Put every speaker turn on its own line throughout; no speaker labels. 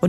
och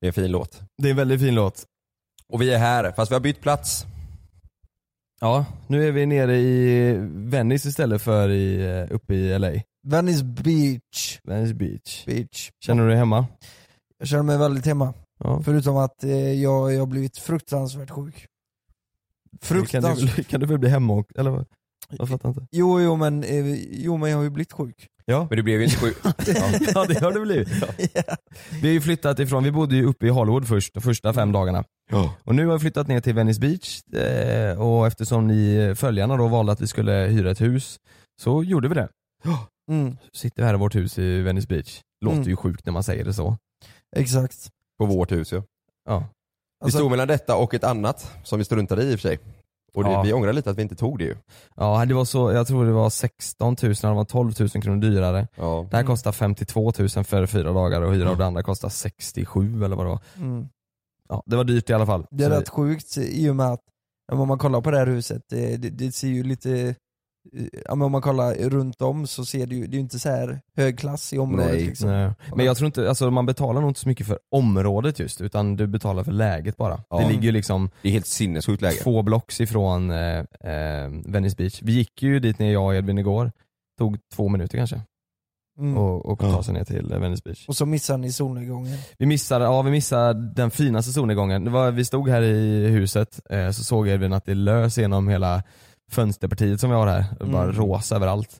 Det är en fin låt.
Det är en väldigt fin låt.
Och vi är här, fast vi har bytt plats.
Ja, nu är vi nere i Venice istället för i, eh, uppe i LA.
Venice Beach.
Venice Beach.
Beach.
Känner du dig hemma?
Jag känner mig väldigt hemma.
Ja.
Förutom att eh, jag, jag har blivit fruktansvärt sjuk.
Kan du,
Fruktansvärt.
väl- kan du väl bli hemma och, eller vad? Jag fattar inte.
Jo, jo men, eh, jo men jag har ju blivit sjuk.
Ja.
Men du blev ju inte sjuk.
ja det har det blivit.
Ja.
Vi har ju flyttat ifrån, vi bodde ju uppe i Hollywood först, de första fem dagarna. Och nu har vi flyttat ner till Venice Beach eh, och eftersom ni eh, följarna då valde att vi skulle hyra ett hus så gjorde vi det.
Mm,
Så sitter vi här i vårt hus i Venice Beach. Låter
Mm.
ju sjukt när man säger det så.
exakt.
På vårt hus ja.
Ja.
Vi
Alltså-
stod mellan detta och ett annat som vi struntade i i och för sig. Och det,
Ja.
vi ångrar lite att vi inte tog det ju.
ja, det var så, jag tror det var 16 000, det var 12 000 kronor dyrare.
Ja.
Det här kostar 52 000 för fyra dagar och hyra av det andra kostar 67 eller vad det var.
Mm.
Ja, det var dyrt i alla fall.
Det är
Så-
rätt sjukt i och med att ja, men om man kollar på det här huset, det, det, det ser ju lite, eh, ja, men om man kollar runt om så ser det ju, det är ju inte så här hög klass i området
Nej.
liksom.
Nej. Men jag tror inte, alltså man betalar nog inte så mycket för området just utan du betalar för läget bara.
Ja.
Det ligger ju liksom
Det är helt sinnessjukt läge.
två blocks ifrån eh, eh, Venice Beach. Vi gick ju dit ner jag och Edvin igår, tog två minuter kanske
Mm. Och,
och, och ta sig ner till eh, Venice Beach.
så missar ni solnedgången.
Vi missade, ja, vi missade den finaste solnedgången. Det var, vi stod här i huset eh, så såg Edvin att det lös genom hela fönsterpartiet som vi har här. Det var
Mm.
rosa överallt.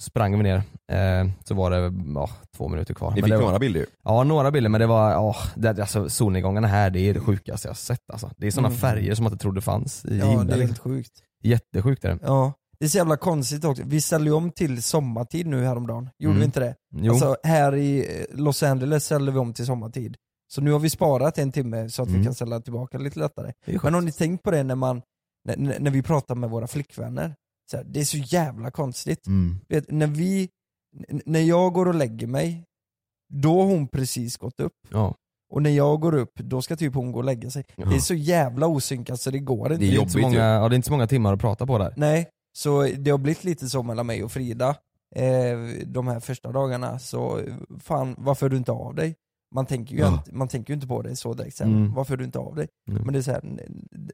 Så sprang vi ner, eh, så var det ja, två minuter kvar.
Ni
Men
fick
det var,
några bilder ju.
Ja, några bilder men det var, ja, det, alltså, solnedgångarna här det är det sjukaste jag har sett alltså. Det är sådana
Mm.
färger som man inte trodde fanns i
Ja det är
himlen.
helt sjukt.
Jättesjukt är det.
Ja, det är så jävla konstigt också. Vi ställde ju om till sommartid nu häromdagen. Gjorde
Mm.
vi inte det?
Jo,
Alltså här i eh, Los Angeles ställde vi om till sommartid. Så nu har vi sparat en timme så att
Mm.
vi kan ställa tillbaka lite lättare.
det är sjukt.
Men har ni tänkt på det när, man, när, när när vi pratar med våra flickvänner? Så här, det är så jävla konstigt.
mm.
Du Vet, när, vi, n- när jag går och lägger mig, då har hon precis gått upp.
ja.
Och när jag går upp, då ska typ hon gå och lägga sig.
Ja.
Det är så jävla osynkat så det går inte.
Det är
Inte så
jobbigt
många,
ju.
ja, det är inte så många timmar att prata på där.
Nej, så det har blivit lite så mellan mig och Frida eh, de här första dagarna. Så fan, varför hör du inte av dig? Man tänker ju,
Ja.
inte, man tänker ju inte på det så direkt sen.
Mm.
Varför hör du inte av dig?
Mm.
Men det är så här,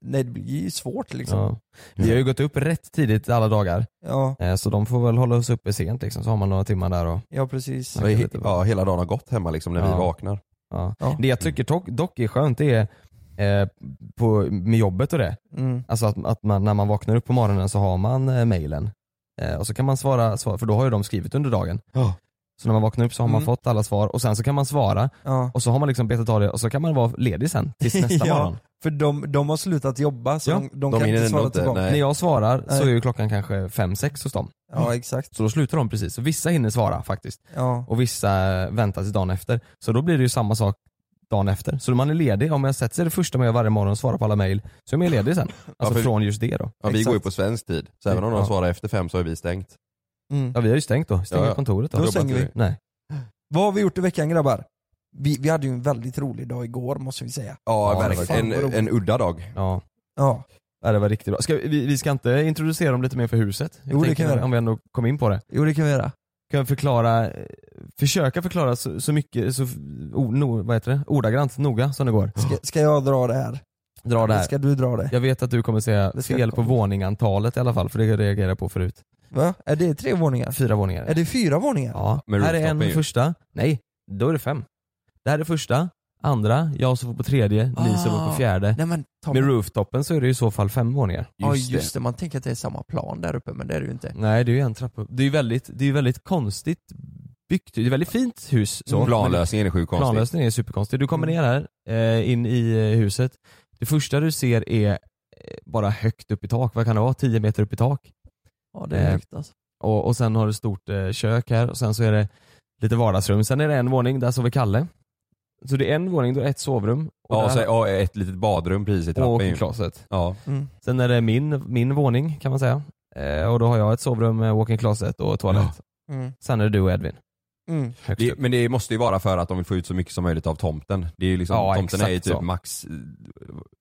nej det blir ju svårt liksom. Ja.
Ja. Vi har ju gått upp rätt tidigt alla dagar,
Ja,
eh, så de får väl hålla oss uppe sent liksom, så har man några timmar där och
precis.
Så he- ja, hela dagen har gått hemma liksom när vi
Ja.
vaknar.
ja.
Ja.
Det jag tycker dock, dock är skönt det är eh, på, med jobbet och det,
Mm.
Alltså att, att man, när man vaknar upp på morgonen så har man eh, mailen. Eh, och så kan man svara, svara, för då har ju de skrivit under dagen.
Ja.
Så när man vaknar upp så har man
Mm.
fått alla svar och sen så kan man svara
Ja.
och så har man liksom betat av det och så kan man vara ledig sen tills nästa
Ja.
morgon.
För de, de har slutat jobba så
Ja,
de, de
de
kan
hinner
inte
ändå
svara
inte,
tillbaka.
nej.
När jag svarar så
Nej.
är ju klockan kanske fem sex hos dem.
Ja exakt.
Så då slutar de precis. Så vissa hinner svara faktiskt
Ja.
och vissa väntar till dagen efter. Så då blir det ju samma sak dagen efter. Så man är ledig, om jag sätter sig det första man gör varje morgon och svarar på alla mejl, så är man ledig sen. Alltså
Ja, för-
från just det då.
Ja, vi går ju på svensk tid, så även om de
Ja.
svarar efter fem så har vi stängt.
Mm.
Ja vi har ju stängt då, stänger
Ja, ja.
kontoret då.
Då
Jobbar
stänger
inte
vi.
Nej.
Vad har vi gjort i veckan grabbar? Vi, vi hade ju en väldigt rolig dag igår måste vi säga.
Ja,
Ja,
verkligen.
fan, vad
En,
roligt.
en udda dag.
Ja.
Ja.
Ja, det var riktigt bra. Ska, vi- vi, vi ska inte introducera dem lite mer för huset? Jag
Jo, det
tänker
kan vi göra.
Om vi ändå kom in på det.
Jo det kan vi göra.
Kan jag förklara, eh, försöka förklara så, så mycket, så, o, no, vad heter det? ordagrant, noga som det går.
Ska, ska jag dra det här?
Dra det här.
Ska du dra det?
Jag vet att du kommer säga
Det ska
fel på
komma.
våningantalet i alla fall, för det reagerade jag på förut.
Va? Är det tre våningar?
Fyra våningar.
Är det fyra våningar?
Ja.
Med
Här är en
rooftop ju.
första, nej, då är det fem. Det här är första, andra, jag som får på tredje, ni som får på
Ah.
fjärde.
Nej men ta
Med rooftopen så är det i så fall fem våningar.
Ja just det, man tänker att det är samma plan där uppe men det är det ju inte.
Nej det är ju en trappa upp. Det är ju väldigt, det är ju väldigt konstigt byggt. Det är ett väldigt fint hus.
Mm.
Mm.
Så.
Planlösningen är sjukt
Men
konstig.
Planlösningen är superkonstig. Du kommer ner här, eh, in i eh, huset. Det första du ser är eh, bara högt upp i tak. Vad kan det vara? 10 meter upp i tak.
Ja det är
Eh,
högt alltså.
Och, och sen har du ett stort eh, kök här och sen så är det lite vardagsrum. Sen är det en våning, där sover Kalle. Så det är en våning, då är det ett sovrum. Och
Ja,
där-
så, ja, ett litet badrum precis i
och
trappan ju.
closet.
Ja.
Mm.
Sen är det min, min våning kan man säga. Eh, och då har jag ett sovrum med walk-in closet och toalett.
Mm.
Sen är det du och Edvin.
Mm.
Högst
Det,
upp.
men det måste ju vara för att de vill få ut så mycket som möjligt av tomten. Det är ju liksom,
Ja,
tomten är
exakt
ju typ
så.
max eh,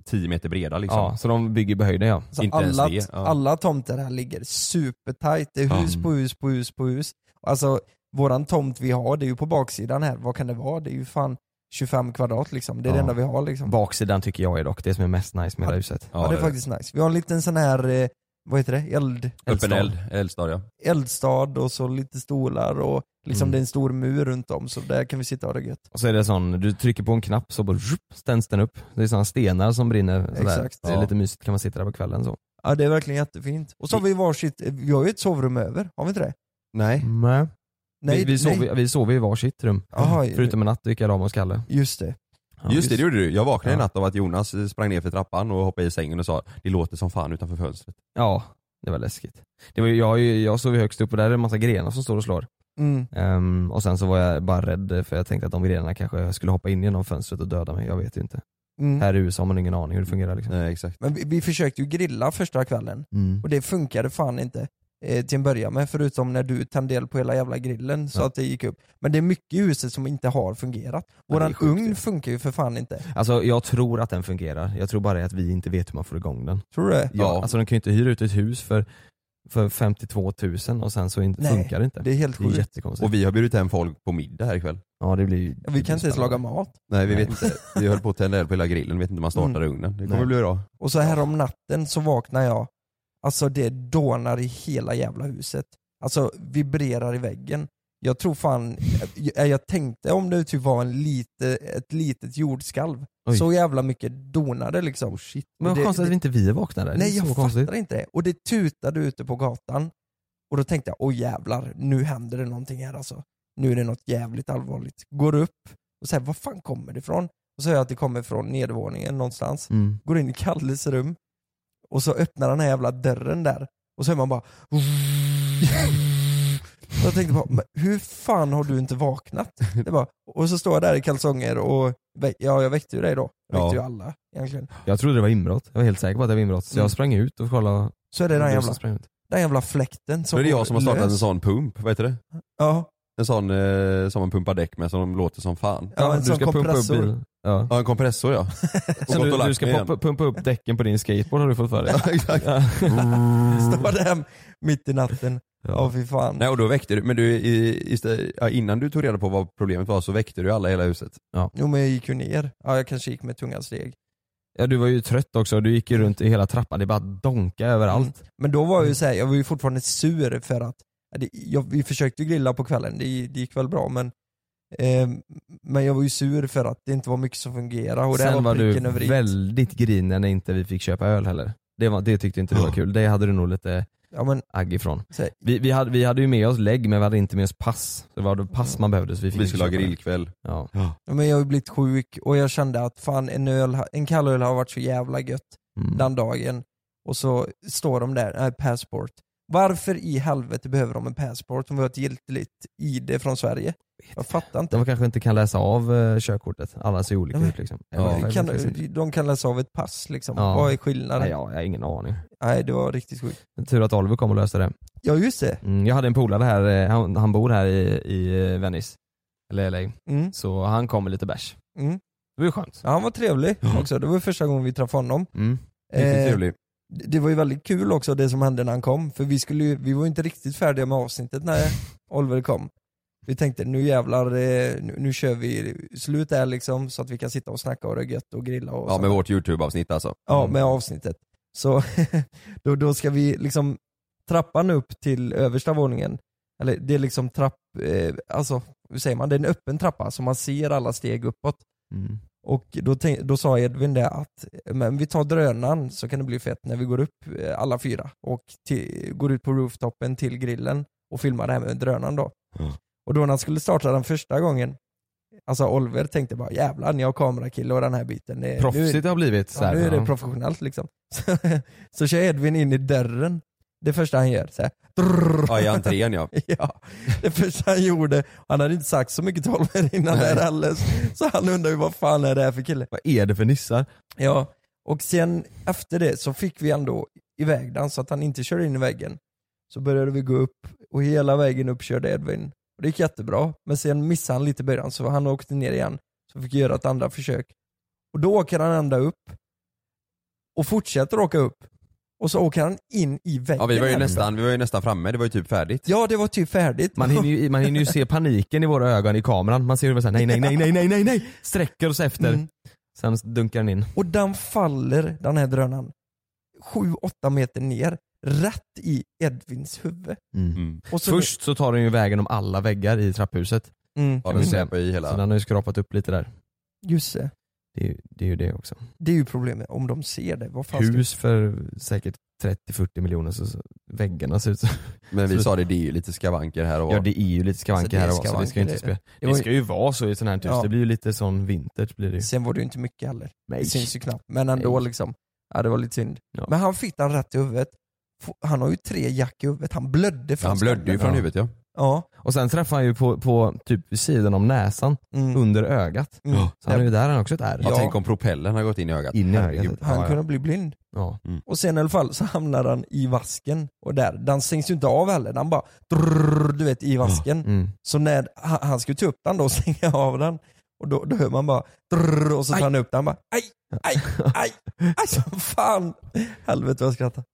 10 meter breda liksom.
Ja, så de bygger på höjden ja.
Så
Inte ens
alla,
det, ja.
alla tomter här ligger supertight. Det är hus
Ja.
på hus på hus på hus. Alltså våran tomt vi har, det är ju på baksidan här. Vad kan det vara? Det är ju fan 25 kvadrat liksom. Det är det
Ja.
enda vi har liksom.
Baksidan tycker jag är dock det som är mest nice med hela huset.
ja, det är faktiskt nice. Vi har en liten sån här, eh, vad heter det? Eld,
Öppen eld, eldstad ja.
eldstad och så lite stolar och liksom
Mm.
det är en stor mur runt om så där kan vi sitta och ha det gött.
Och så är det sån, du trycker på en knapp så bara zhup, ständs den upp. Det är såna stenar som brinner sådär.
Exakt.
Det är
Ja.
lite mysigt kan man sitta där på kvällen så.
Ja det är verkligen jättefint. Och så har vi varsitt, vi har ju ett sovrum över, har vi inte det?
Nej.
Nej.
Nej,
vi, vi,
nej.
sover, vi sover i varsitt rum.
Jaha,
Förutom en natt då gick jag och la mig hos Kalle.
Just det.
Ja,
Just det, det gjorde du. Jag vaknade i
Ja.
natt av att Jonas eh, sprang ner för trappan och hoppade i sängen och sa det låter som fan utanför fönstret.
Ja, det var läskigt. Det var, ju- jag, har ju- jag sov ju högst upp och där är det en massa grenar som står och slår.
Mm.
Ehm, och sen så var jag bara rädd för jag tänkte att de grenarna kanske skulle hoppa in genom fönstret och döda mig. Jag vet ju inte.
Mm.
Här i USA har man ingen aning hur det fungerar liksom.
Nej, exakt.
Men vi, vi försökte ju grilla första kvällen
Mm.
och det funkade fan inte eh, till en början med förutom när du tände eld på hela jävla grillen så
Ja.
att det gick upp. Men det är mycket i huset som inte har fungerat.
det är
Våran
sjukt,
ugn
ja.
funkar ju för fan inte.
Alltså jag tror att den fungerar. Jag tror bara att vi inte vet hur man får igång den.
Tror du det?
Ja. Alltså de kan ju inte hyra ut ett hus för, för 52 000 och sen så inte,
Nej,
funkar det inte.
Det är helt
det är
sjukt.
jättekonstigt.
Och vi har bjudit hem folk på middag här ikväll.
ja, det blir, ju- det
Vi
blir
kan inte ens
spännande.
laga mat.
Nej vi
Nej. Mm.
vet inte. Vi höll på att tända eld på hela grillen, vet inte hur man startar ugnen. Det kommer
Nej.
bli bra.
Och så här om natten så vaknar jag, alltså det dånar i hela jävla huset. Alltså vibrerar i väggen. Jag tror fan, jag, jag tänkte om det typ var en lite, ett litet jordskalv.
Oj. Oh,
Så jävla mycket donade liksom.
Men vad
Det-
konstigt att vi
det-
inte vi vaknar där.
Nej
det är så
jag
konstigt.
fattar inte det. Och det tutade ute på gatan. Och då tänkte jag, åh jävlar, nu händer det någonting här alltså. Nu är det något jävligt allvarligt. Går upp och säger, vad fan kommer det ifrån? Och så hör jag att det kommer från nedervåningen någonstans
Mm.
går in i Kalles rum och så öppnar den här jävla dörren där och så är man bara och jag tänkte bara, men hur fan har du inte vaknat? Det bara, och så står jag där i kalsonger och vä- ja, jag väckte ju dig då. Jag väckte
Ja.
ju alla egentligen.
Jag trodde det var inbrott. Jag var helt säker på att det var inbrott. Så
Mm.
jag sprang ut och kollade.
Så är det den
Du
jävla,
som sprang ut.
den jävla fläkten som
Då är det jag som har startat en
lös.
sån pump, vad heter det?
Ja,
En sån eh, som man pumpar däck med som låter som fan.
ja, en
du
sån
ska pumpa upp
kompressor.
bilen. Ja.
Ja en kompressor ja. Och gått
Så
och
du,
lagt
du ska
mig igen.
pumpa, pumpa upp däcken på din skateboard har du fått för dig.
Ja, exakt.
Ja.
Står där mitt i natten. Ja, fy fan.
Nej och då väckte du, men du, i, istä- ja, innan du tog reda på vad problemet var så väckte du alla i hela huset.
Jo men jag gick ju ner. Ja, jag kanske gick med tunga steg.
ja, du var ju trött också. Du gick ju runt i hela trappan. Det bara donka överallt.
Men då var jag
Mm.
ju så här, jag var ju fortfarande sur för att ja, det, jag, vi försökte ju grilla på kvällen, det, det gick väl bra men eh, men jag var ju sur för att det inte var mycket som fungerade och det här
Sen var
var
du
pricken över i.
väldigt grinig när inte vi fick köpa öl heller. Det, var, det tyckte inte du var kul. Det hade du nog lite
Ja, men,
agg ifrån.
så här,
Vi, vi, hade, vi hade ju med oss lägg men vi hade inte med oss pass. Det var det pass man behövde så vi fick
Vi
inte
skulle ha
köpa det.
grillkväll.
Ja.
ja, men jag har ju blivit sjuk och jag kände att fan en, öl, ha- en kall öl har varit så jävla gött
Mm.
den dagen och så står de där, nej passport. Varför i helvete behöver de en passport om vi har ett giltigt ID från Sverige? Jag fattar inte.
De kanske inte kan läsa av eh, körkortet, alla ser olika
Ja, men-
ut liksom.
Ja, kan,
ja, precis.
de kan läsa av ett pass liksom.
Ja.
Vad är
Nej,
skillnaden?
jag, jag har ingen aning.
Nej, det var riktigt sjukt.
Men Tur att Oliver kom och löste det.
Ja, just det.
Mm, jag hade en polare här, eh, han, han bor här i, i eh, Venice, eller LA,
Mm.
så han kom med lite bärs.
Mm.
Det var ju skönt.
Ja, han var trevlig också. Det var första gången vi träffade honom.
Mm.
Eh,
trevlig.
Det det var ju väldigt kul också det som hände när han kom, för vi, skulle ju, vi var ju inte riktigt färdiga med avsnittet när Oliver kom. Vi tänkte nu jävlar, eh, nu, nu kör vi slut där liksom så att vi kan sitta och snacka och det är gött och grilla och
Ja
så.
med vårt YouTube-avsnitt alltså.
ja,
Mm.
med avsnittet. Så då, då ska vi liksom trappan upp till översta våningen, eller det är liksom trapp, eh, alltså hur säger man, det är en öppen trappa så man ser alla steg uppåt.
Mm.
Och då, tänk, då sa Edvin det att men vi tar drönaren så kan det bli fett när vi går upp eh, alla fyra och till, går ut på rooftopen till grillen och filmar det här med drönaren då.
Ja.
Och då när han skulle starta den första gången, alltså Oliver tänkte bara jävlar ni har kamerakille och den här biten. Det,
Proffsigt
nu,
det har blivit. Så
ja,
här,
nu är
ja.
det professionellt liksom. Så, så kör Edvin in i dörren, det första han gör. Så här, drrrr.
Ja i entrén ja.
Ja, det första han gjorde, han hade inte sagt så mycket till Oliver innan det här alldeles, så han undrar ju vad fan är det här för kille?
Vad är det för nissar?
Ja, och sen efter det så fick vi ändå iväg den så att han inte körde in i väggen. Så började vi gå upp och hela vägen upp körde Edvin. Och det gick jättebra, men sen missade han lite i början så han åkte ner igen. Så fick jag göra ett andra försök. Och då åker han ända upp och fortsätter åka upp. Och så åker han in i väggen.
Ja vi var ju
här.
nästan, vi var ju nästan framme, det var ju typ färdigt.
Ja, det var typ färdigt.
Man hinner, ju, man hinner ju se paniken i våra ögon i kameran. Man ser hur vi säger nej, nej, nej, nej, nej, nej, nej. Sträcker oss efter.
Mm.
Sen dunkar den in.
Och den faller, den här drönaren, 7-8 meter ner, rätt i Edvins huvud.
Mm.
Och så
Först så tar den ju vägen om alla väggar i trapphuset.
Mm,
Ja den
Mm.
släpar i hela.
Så den har ju skrapat upp lite där.
just det.
Det är, ju- det är ju det också.
Det är ju problemet, om de ser det, vad fan ska-
Hus för säkert 30-40 miljoner så så väggarna ser ut så.
Men vi
Så-
sa det, det är ju lite skavanker här och var.
Ja det är ju lite skavanker här och var, så det ska ju inte
skavanker,
spela.
det var
Det
ju-
ska ju vara så i ett sånt här hus.
Ja.
Det blir ju lite sån vintage blir det ju.
Sen var det ju inte mycket heller.
Nej.
Det syns ju knappt. Men ändå
Nej.
liksom. Ja, det var lite synd.
Ja.
Men han fick den rätt i huvudet. F- Han har ju tre jack i huvudet. Han blödde från
Han blödde ju
skallen.
från
Ja.
huvudet ja.
Ja.
Och sen träffar han ju på, på typ vid sidan om näsan,
Mm.
under ögat.
Mm.
Så han är ju där han har också ett ärr.
Ja.
Ja.
Tänk om propellen har gått in i ögat.
In i
Herregud. Mm.
ögat.
Han
Ja, ja.
kunde bli blind.
Ja.
Och sen i alla fall så hamnar han i vasken. Och där, den stängs ju inte av heller. Den bara drrrr, du vet, i vasken.
Mm.
Så när han, han skulle ta upp den då och stänga av den. Och då, då hör man bara drrrr, och så tar
Aj.
han upp den bara aj, aj, aj, aj som fan. Helvete vad jag skrattade.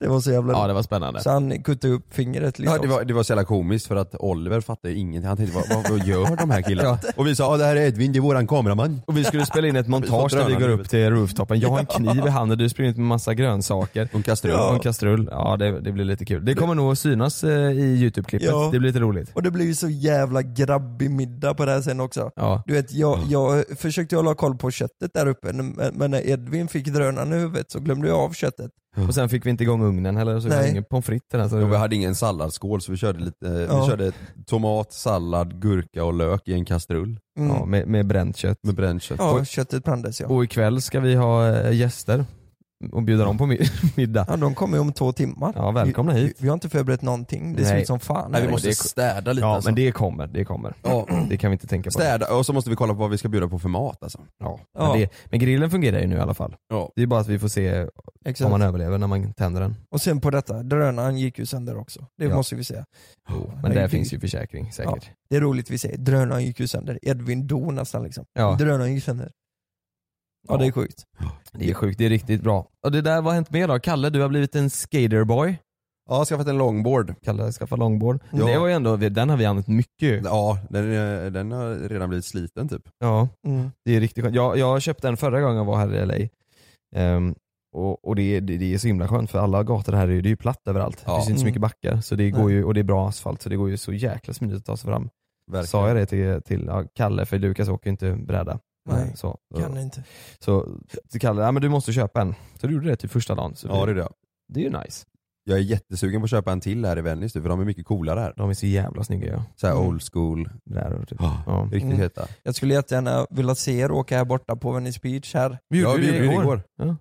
Det var så jävla
ja det var spännande.
Så han kuttade upp fingret liksom.
Ja, det, var, det var så jävla komiskt för att Oliver fattade ingenting. Han tänkte vad, vad, vad gör de här killarna? Och vi sa "Ja, det här är Edvin, det är våran kameraman.
Och vi skulle spela in ett montage där vi går upp till rooftopen. Jag har en kniv i handen, du springer ut med massa grönsaker.
Och en kastrull.
Och en kastrull. Ja det, det blir lite kul. Det kommer nog att synas eh, i YouTube-klippet.
Ja.
Det blir lite roligt.
Och det blev ju så jävla grabbig middag på det här sen också.
Ja.
Du vet, jag, jag försökte hålla koll på köttet där uppe, men men när Edvin fick drönaren i huvudet så glömde jag av köttet.
Och sen fick vi inte igång ugnen heller, så vi
Nej.
hade ingen pommes frites där. Så
Och vi
det
hade ingen salladsskål så vi körde, lite, eh,
Ja.
vi körde tomat, sallad, gurka och lök i en kastrull
Mm.
ja,
Ja,
med, med bränt kött.
med bränt kött. Och-
köttet brändes ja.
Och ikväll ska vi ha eh, gäster och bjuda dem på mi- middag.
ja. De kommer ju om två timmar.
Ja, välkomna
vi,
hit.
Vi, vi har inte förberett någonting, det ser
Nej.
ut som fan.
Nej, vi
här.
måste städa lite
Ja
alltså.
men det kommer, det kommer.
Ja.
Det kan vi inte tänka på.
Städa, och så måste vi kolla på vad vi ska bjuda på för mat alltså.
Ja.
Ja.
Men, det, men grillen fungerar ju nu i alla fall.
Ja.
Det är bara att vi får se om
Exakt.
man överlever när man tänder den.
Och sen på detta, drönaren gick ju sönder också. Det
Ja.
måste vi säga.
Oh, Men där
herregud.
finns ju försäkring säkert.
Det är roligt vi säger, drönaren gick ju sönder. Edvin dog nästan liksom.
Ja.
Drönaren gick sönder. Ja, det är sjukt.
Det är sjukt, det är riktigt bra. Och det där, vad har hänt mer då? Kalle, du har blivit en skaterboy.
Ja, jag har skaffat en longboard.
Kalle har skaffat longboard.
Ja.
Det var ju ändå, den har vi använt mycket.
Ja, den, eh, den har redan blivit sliten typ.
Ja,
Mm.
det är riktigt skönt. Jag, jag köpte den förra gången jag var här i LA. Ehm, och och det, är- det, det är så himla skönt för alla gator här är ju, det är ju platt överallt.
Ja.
Det finns inte så
Mm.
mycket backar så det går ju, och det är bra asfalt så det går ju så jäkla smidigt att ta sig fram. Sa jag det till, till ja, Kalle, för Lukas åker ju inte bräda.
Nej,
så,
Kan inte.
Så till Kalle, ja men du måste köpa en. Så du gjorde det till första dagen. Så
Ja det är det.
det är ju nice.
Jag är jättesugen på att köpa en till här i Venice nu, för de är mycket coolare här.
De är så jävla snygga ja.
Så här
Mm.
old school,
Där och typ.
Ja.
Ja.
riktigt
Mm.
heta.
Jag skulle jättegärna vilja se er åka här borta på Venice Beach här.
Vi
ja, vi gjorde det igår.
Ja.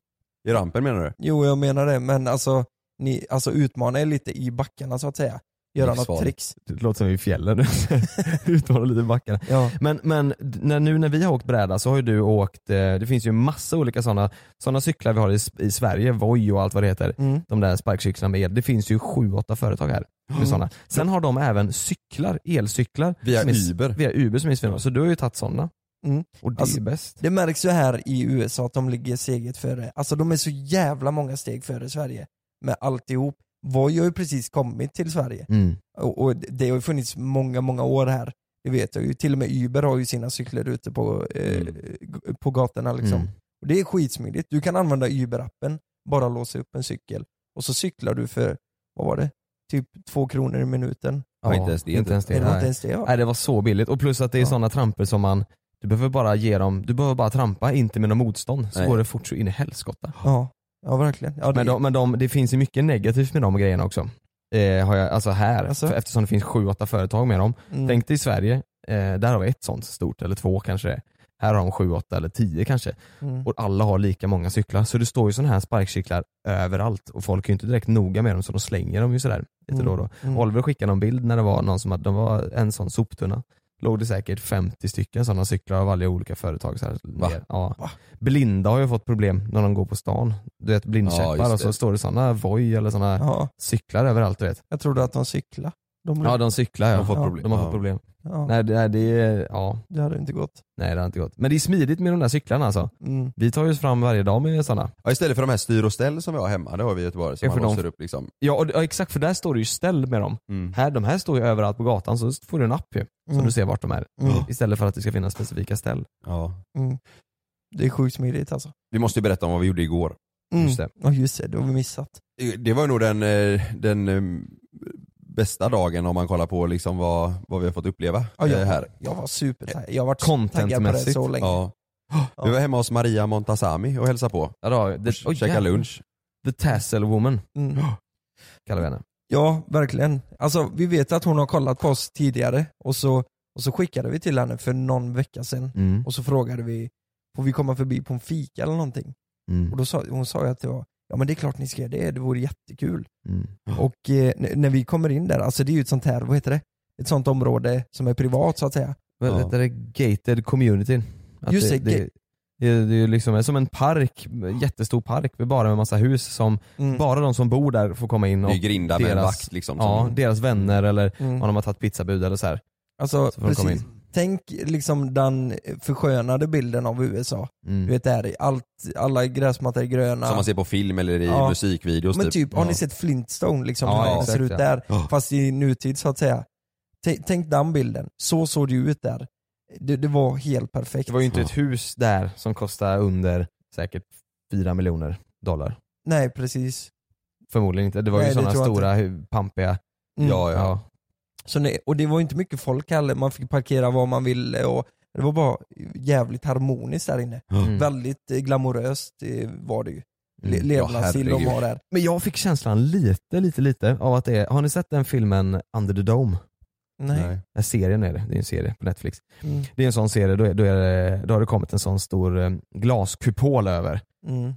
I rampen menar du?
Jo, jag menar det, men alltså ni, alltså utmana er lite i backarna så att säga. Göra något
Livsfarligt.
tricks.
Det låter som vi är i fjällen nu. Utmanar lite backarna.
Ja.
Men, men d- när, nu när vi har åkt bräda så har ju du åkt, eh, det finns ju massa olika sådana såna cyklar vi har i, S- i Sverige, Voi och allt vad det heter.
Mm.
De där sparkcyklarna med el. Det finns ju sju, åtta företag här. Med såna. Sen har de även cyklar, elcyklar.
Via
som är s-
Uber.
Via Uber som är svinbra. Så du har ju tagit sådana.
Mm.
Och det
Alltså-
är bäst.
Det märks ju här i USA att de ligger steget före. Alltså de är så jävla många steg före Sverige med alltihop. Voi har ju precis kommit till Sverige
mm,
och, och det har ju funnits många, många år här. Det vet jag ju. Till och med Uber har ju sina cyklar ute på, eh,
Mm.
g- på gatorna liksom.
Mm.
Och det är skitsmidigt. Du kan använda Uber-appen, bara låsa upp en cykel och så cyklar du för, vad var det, typ två kronor i minuten.
Ja, inte ens det.
Inte ens det.
Är det
nej.
inte ens det? Ja.
Nej det var så billigt och plus att det är
Ja.
sådana trampor som man Du behöver bara ge dem, du behöver bara trampa, inte med något motstånd så
Nej.
går det fort så in i helskotta.
Ja, ja verkligen. Ja, det,
Men, de, men de, det finns ju mycket negativt med de grejerna också. Eh, har jag, alltså här,
Alltså?
för, eftersom det finns sju, åtta företag med dem.
mm.
Tänk dig i Sverige, eh, där har vi ett sånt stort, eller två kanske det är. Här har de sju, åtta eller tio kanske.
mm.
Och alla har lika många cyklar. Så det står ju sådana här sparkcyklar överallt och folk är ju inte direkt noga med dem så de slänger dem ju sådär lite då och då.
Mm.
Oliver skickade någon bild när det var någon som hade, de var en sån soptunna. Låg det säkert 50 stycken sådana cyklar av alla olika företag. Så här,
Va?
ner. Ja.
Va?
Blinda har ju fått problem när de går på stan. Du vet blindkäppar
Ja, just
och så
det.
står det sådana Voi eller sådana
Ja,
cyklar överallt du vet.
jag trodde att de cyklade. De,
Ja de cyklar ja.
De har fått
Ja,
problem.
De har fått
Ja.
problem.
ja,
Nej, det, nej det är, ja,
Det hade inte gått.
nej det har inte gått. Men det är smidigt med de där cyklarna alltså.
Mm.
Vi tar ju oss fram varje dag med sådana.
Ja, istället för de här styr och ställ som vi har hemma, det har vi i Göteborg som
Ja,
man
för de-
låser upp liksom.
Ja, och, ja exakt för där står det ju ställ med dem.
Mm.
Här, de här står ju överallt på gatan så får du en app ju. Så
Mm.
du ser vart de är.
Mm.
Istället för att det ska finnas specifika ställ.
Ja.
Det är sjukt smidigt alltså.
Vi måste ju berätta om vad vi gjorde igår.
Mm.
Just det.
Ja just det, det har vi missat.
Det var ju nog den, eh, den eh, bästa dagen om man kollar på liksom vad, vad vi har fått uppleva
Ja,
eh,
jag,
här.
jag var supertaggad. Jag har varit så taggad på det
Contentmässigt.
så länge.
Ja. Vi var hemma hos Maria Montazami och hälsade på.
Ja, då, det,
och käkade lunch.
The Tassel Woman
Mm.
kallar vi henne.
Ja, verkligen. Alltså vi vet att hon har kollat på oss tidigare och så, och så skickade vi till henne för någon vecka sedan
Mm.
och så frågade vi, får vi komma förbi på en fika eller någonting?
Mm.
Och då sa, hon sa ju att det var, ja men det är klart ni ska göra det, det vore jättekul.
Mm.
Och eh, n- när vi kommer in där, alltså det är ju ett sånt här, vad heter det? Ett sånt område som är privat så att säga.
Vad
Ja.
heter det? Gated community. Att
Just det,
det, det, är- det är ju liksom som en park, jättestor park, med bara med massa hus som
Mm.
bara de som bor där får komma in
Det
och
är grindar med en
deras-
vakt liksom.
ja,
som-
deras vänner eller
Mm.
om de har tagit pizzabud eller så här.
Alltså
Så får de komma
precis. Tänk liksom den förskönade bilden av USA.
Mm.
Du vet där, allt, alla gräsmattor är gröna.
Som man ser på film eller i
Ja.
musikvideos
Men typ, har
Ja.
ni sett Flintstone liksom?
Ja,
hur det
exakt,
ser ut
ja.
där.
Ja.
Fast i nutid så att säga. T- tänk den bilden. Så såg det ju ut där. Det, det var helt perfekt.
Det var ju inte ett hus där som kostade under säkert 4 miljoner dollar.
Nej precis.
Förmodligen inte. Det var
Nej, det
ju sådana
tror jag
stora, hu- pampiga.
Mm.
Ja, ja.
Så nej, och det var ju inte mycket folk heller. Man fick parkera var man ville och det var bara jävligt harmoniskt där inne.
Mm.
Väldigt eh, glamoröst eh, var det ju. Le-
Mm.
Levnadsstil de
herregud.
har där.
Men jag fick känslan lite, lite, lite av att det är, har ni sett den filmen Under the Dome?
Nej.
Nej, serien är det, det är en serie på Netflix.
Mm.
Det är en sån serie, då, är, då, är det, då har det kommit en sån stor eh, glaskupol över.
Mm.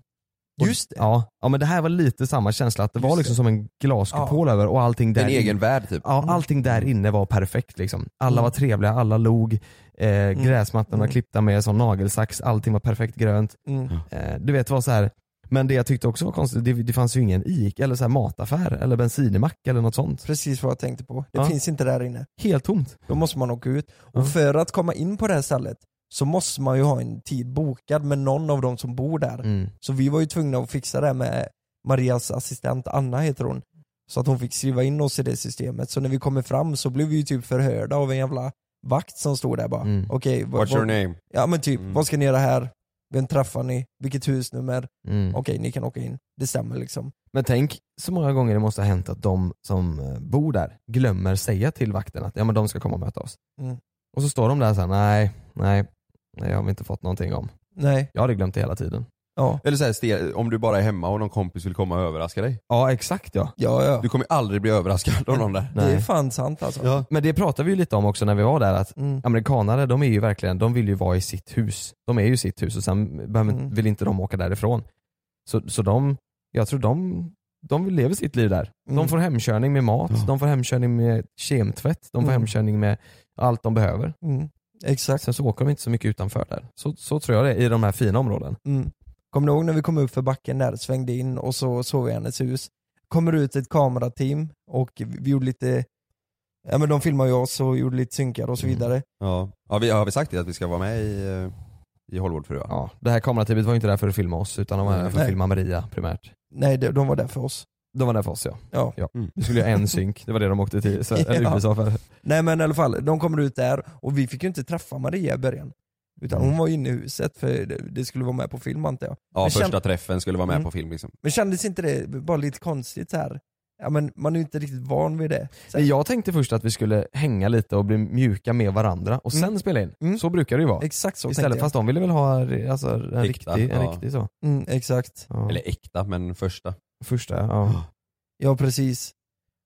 Och-
Just det.
Ja, ja, men det här var lite samma känsla, att det var
Just
liksom
det.
som en glaskupol över och allting där
En egen
inne-
värld typ.
Ja, allting där inne var perfekt liksom. Alla
Mm.
var trevliga, alla log, eh, gräsmattorna var
Mm.
klippta med sån nagelsax, allting var perfekt grönt.
Mm.
Eh, du vet, det var så här. Men det jag tyckte också var konstigt, det, det fanns ju ingen Ica eller så här mataffär eller bensinmack eller något sånt.
Precis vad jag tänkte på. Det
Ja.
finns inte där inne.
Helt tomt.
Då måste man åka ut. Och
Ja.
för att komma in på det här stället så måste man ju ha en tid bokad med någon av de som bor där.
Mm.
Mm,
Så vi var ju tvungna att fixa det här med Marias assistent Anna heter hon. Så att hon fick skriva in oss i det systemet. Så när vi kommer fram så blev vi ju typ förhörda av en jävla vakt som stod där bara.
Mm.
Okej, vad-
What's your
vad-
name?
ja men typ,
Mm.
vad ska ni göra här? Vem träffar ni? Vilket husnummer?
Mm.
Okej, ni kan åka in. Det stämmer liksom.
Men tänk så många gånger det måste ha hänt att de som eh, bor där glömmer säga till vakten att ja, men de ska komma och möta oss.
Mm.
Och så står de där såhär, nej, nej, det har vi inte fått någonting om.
Nej,
Jag hade glömt det hela tiden.
ja.
Eller så här, ste- om du bara är hemma och någon kompis vill komma och överraska dig.
Ja exakt ja.
Ja, ja.
Du kommer aldrig bli överraskad av någon där.
Det är
Nej.
fan sant alltså.
Ja.
Men det pratade vi ju lite om också när vi var där att
Mm.
amerikanare de är ju verkligen, de vill ju vara i sitt hus. De är ju i sitt hus och sen behöver,
Mm.
vill inte de åka därifrån. Så, så de, jag tror de de lever sitt liv där.
Mm.
De får hemkörning med mat, de får hemkörning med kemtvätt, de får
Mm.
hemkörning med allt de behöver.
Mm. Exakt.
Sen så åker de inte så mycket utanför där. Så, så tror jag det är i de här fina områden.
Mm. Kommer du ihåg när vi kom upp för backen där, svängde in och så såg jag hennes hus. Kommer ut ett kamerateam och vi gjorde lite, ja men de filmade ju oss och gjorde lite synkar och
Mm.
så vidare.
Ja. Ja, vi, har vi sagt det att vi ska vara med i, eh, i Hollywoodfruar?
Ja, det här kamerateamet var ju inte där för att filma oss utan de var där för att
Nej.
filma Maria primärt.
Nej, de, de var där för oss.
De var där för oss ja.
Ja.
Mm.
Vi skulle göra en synk, det var det de åkte till Sver- eller
Ja.
USA för.
Nej men i alla fall, de kommer ut där och vi fick ju inte träffa Maria i början. Utan hon var inne i huset för det, det skulle vara med på film antar jag.
Mm. Ja,
Men
första
känd-
träffen skulle vara med
Mm.
på film liksom.
Men kändes inte det bara lite konstigt så här? Ja men man är ju inte riktigt van vid det. Så här,
Nej, Jag tänkte först att vi skulle hänga lite och bli mjuka med varandra och sen
Mm.
spela in.
Mm.
Så brukar det ju vara.
Exakt så tänkte
Istället,
jag.
fast de ville väl ha alltså, en,
Äkta,
riktig, en
ja.
riktig så.
Mm, exakt.
Ja.
Eller äkta, men första.
Första, ja.
Ja precis.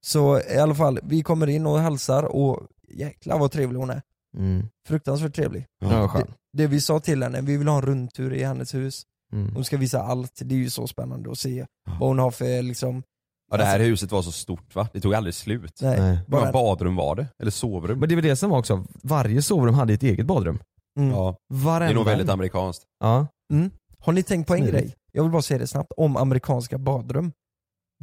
Så i alla fall, vi kommer in och hälsar och jäklar vad trevlig hon är.
Mm.
Fruktansvärt trevlig.
Ja, skön.
Det vi sa till henne, vi vill ha en rundtur i hennes hus.
Mm.
Hon ska visa allt, det är ju så spännande att se vad hon har för liksom, alltså,
Ja, det här huset var så stort va? Det tog aldrig slut.
nej,
Nej.
Hur
bara
många badrum var det? Eller sovrum?
Men det var det som var också, varje sovrum hade ett eget badrum.
mm.
Ja, det
Varenda.
är nog väldigt amerikanskt.
ja.
Har ni tänkt på en
Smidigt.
grej? Jag vill bara säga det snabbt, om amerikanska badrum.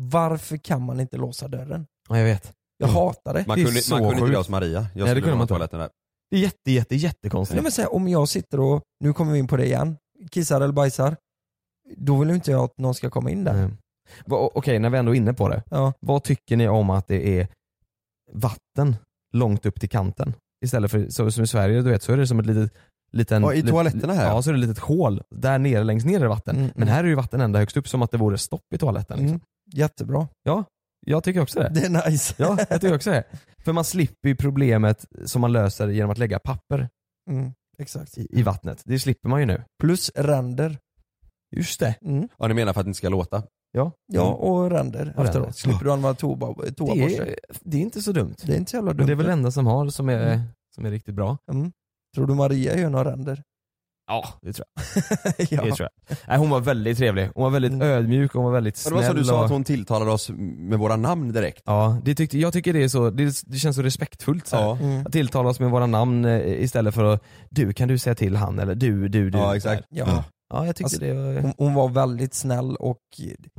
Varför kan man inte låsa dörren?
ja, jag vet.
Jag
Mm.
hatar det.
Man
Det är
kunde,
så
man kunde inte
sjukt.
göra som Maria. Jag skulle
det kunde
ha
man inte.
toaletten där.
Det är jätte, jätte,
Nej,
jättekonstigt.
men så här, om jag sitter och, nu kommer vi in på det igen, kissar eller bajsar, då vill inte jag att någon ska komma in där.
Nej. Va- Eh, o- Okej, när vi ändå är inne på det.
Ja.
Vad tycker ni om att det är vatten långt upp till kanten? Istället för så, som i Sverige, du vet, så är det som ett litet Liten,
Ja, i
lit-
toaletterna här, ja.
Ja, så är det ett litet hål. Där nere, längst ner är det vatten.
Mm.
Men här är ju vatten ända högst upp, som att det vore stopp i toaletten. Liksom.
Mm. Jättebra.
Jag tycker också det.
Det är nice.
Ja, jag tycker också det. För man slipper ju problemet som man löser genom att lägga papper
Mm. Exakt.
i, i vattnet. Det slipper man ju nu.
Plus ränder.
Just det.
Mm.
Ja, ni menar för att det inte ska låta? Mm.
Ja.
Ja, och ränder
Och
efteråt.
ränder.
Slipper du använda toa-
Mm. Det
toaborste.
är, det är inte så dumt.
Det är inte så jävla dumt.
Men det är väl det enda som har som är,
Mm.
som är riktigt bra.
mm. Tror du Maria gör några ränder?
Ja, det tror
ja.
jag. Det tror jag. Nej, hon var väldigt trevlig. Hon var väldigt
Mm.
ödmjuk, hon var väldigt
Ja,
snäll.
det var så du sa
och-
att hon tilltalade oss med våra namn direkt.
Ja, det tyckte, jag tycker det är så, det, det känns så respektfullt så här.
Ja.
Mm.
Att tilltala oss med våra namn eh, istället för att du, kan du säga till han eller du, du, du.
Ja, exakt.
Ja.
Ja, jag tyckte
Alltså,
det var...
Hon, hon var väldigt snäll och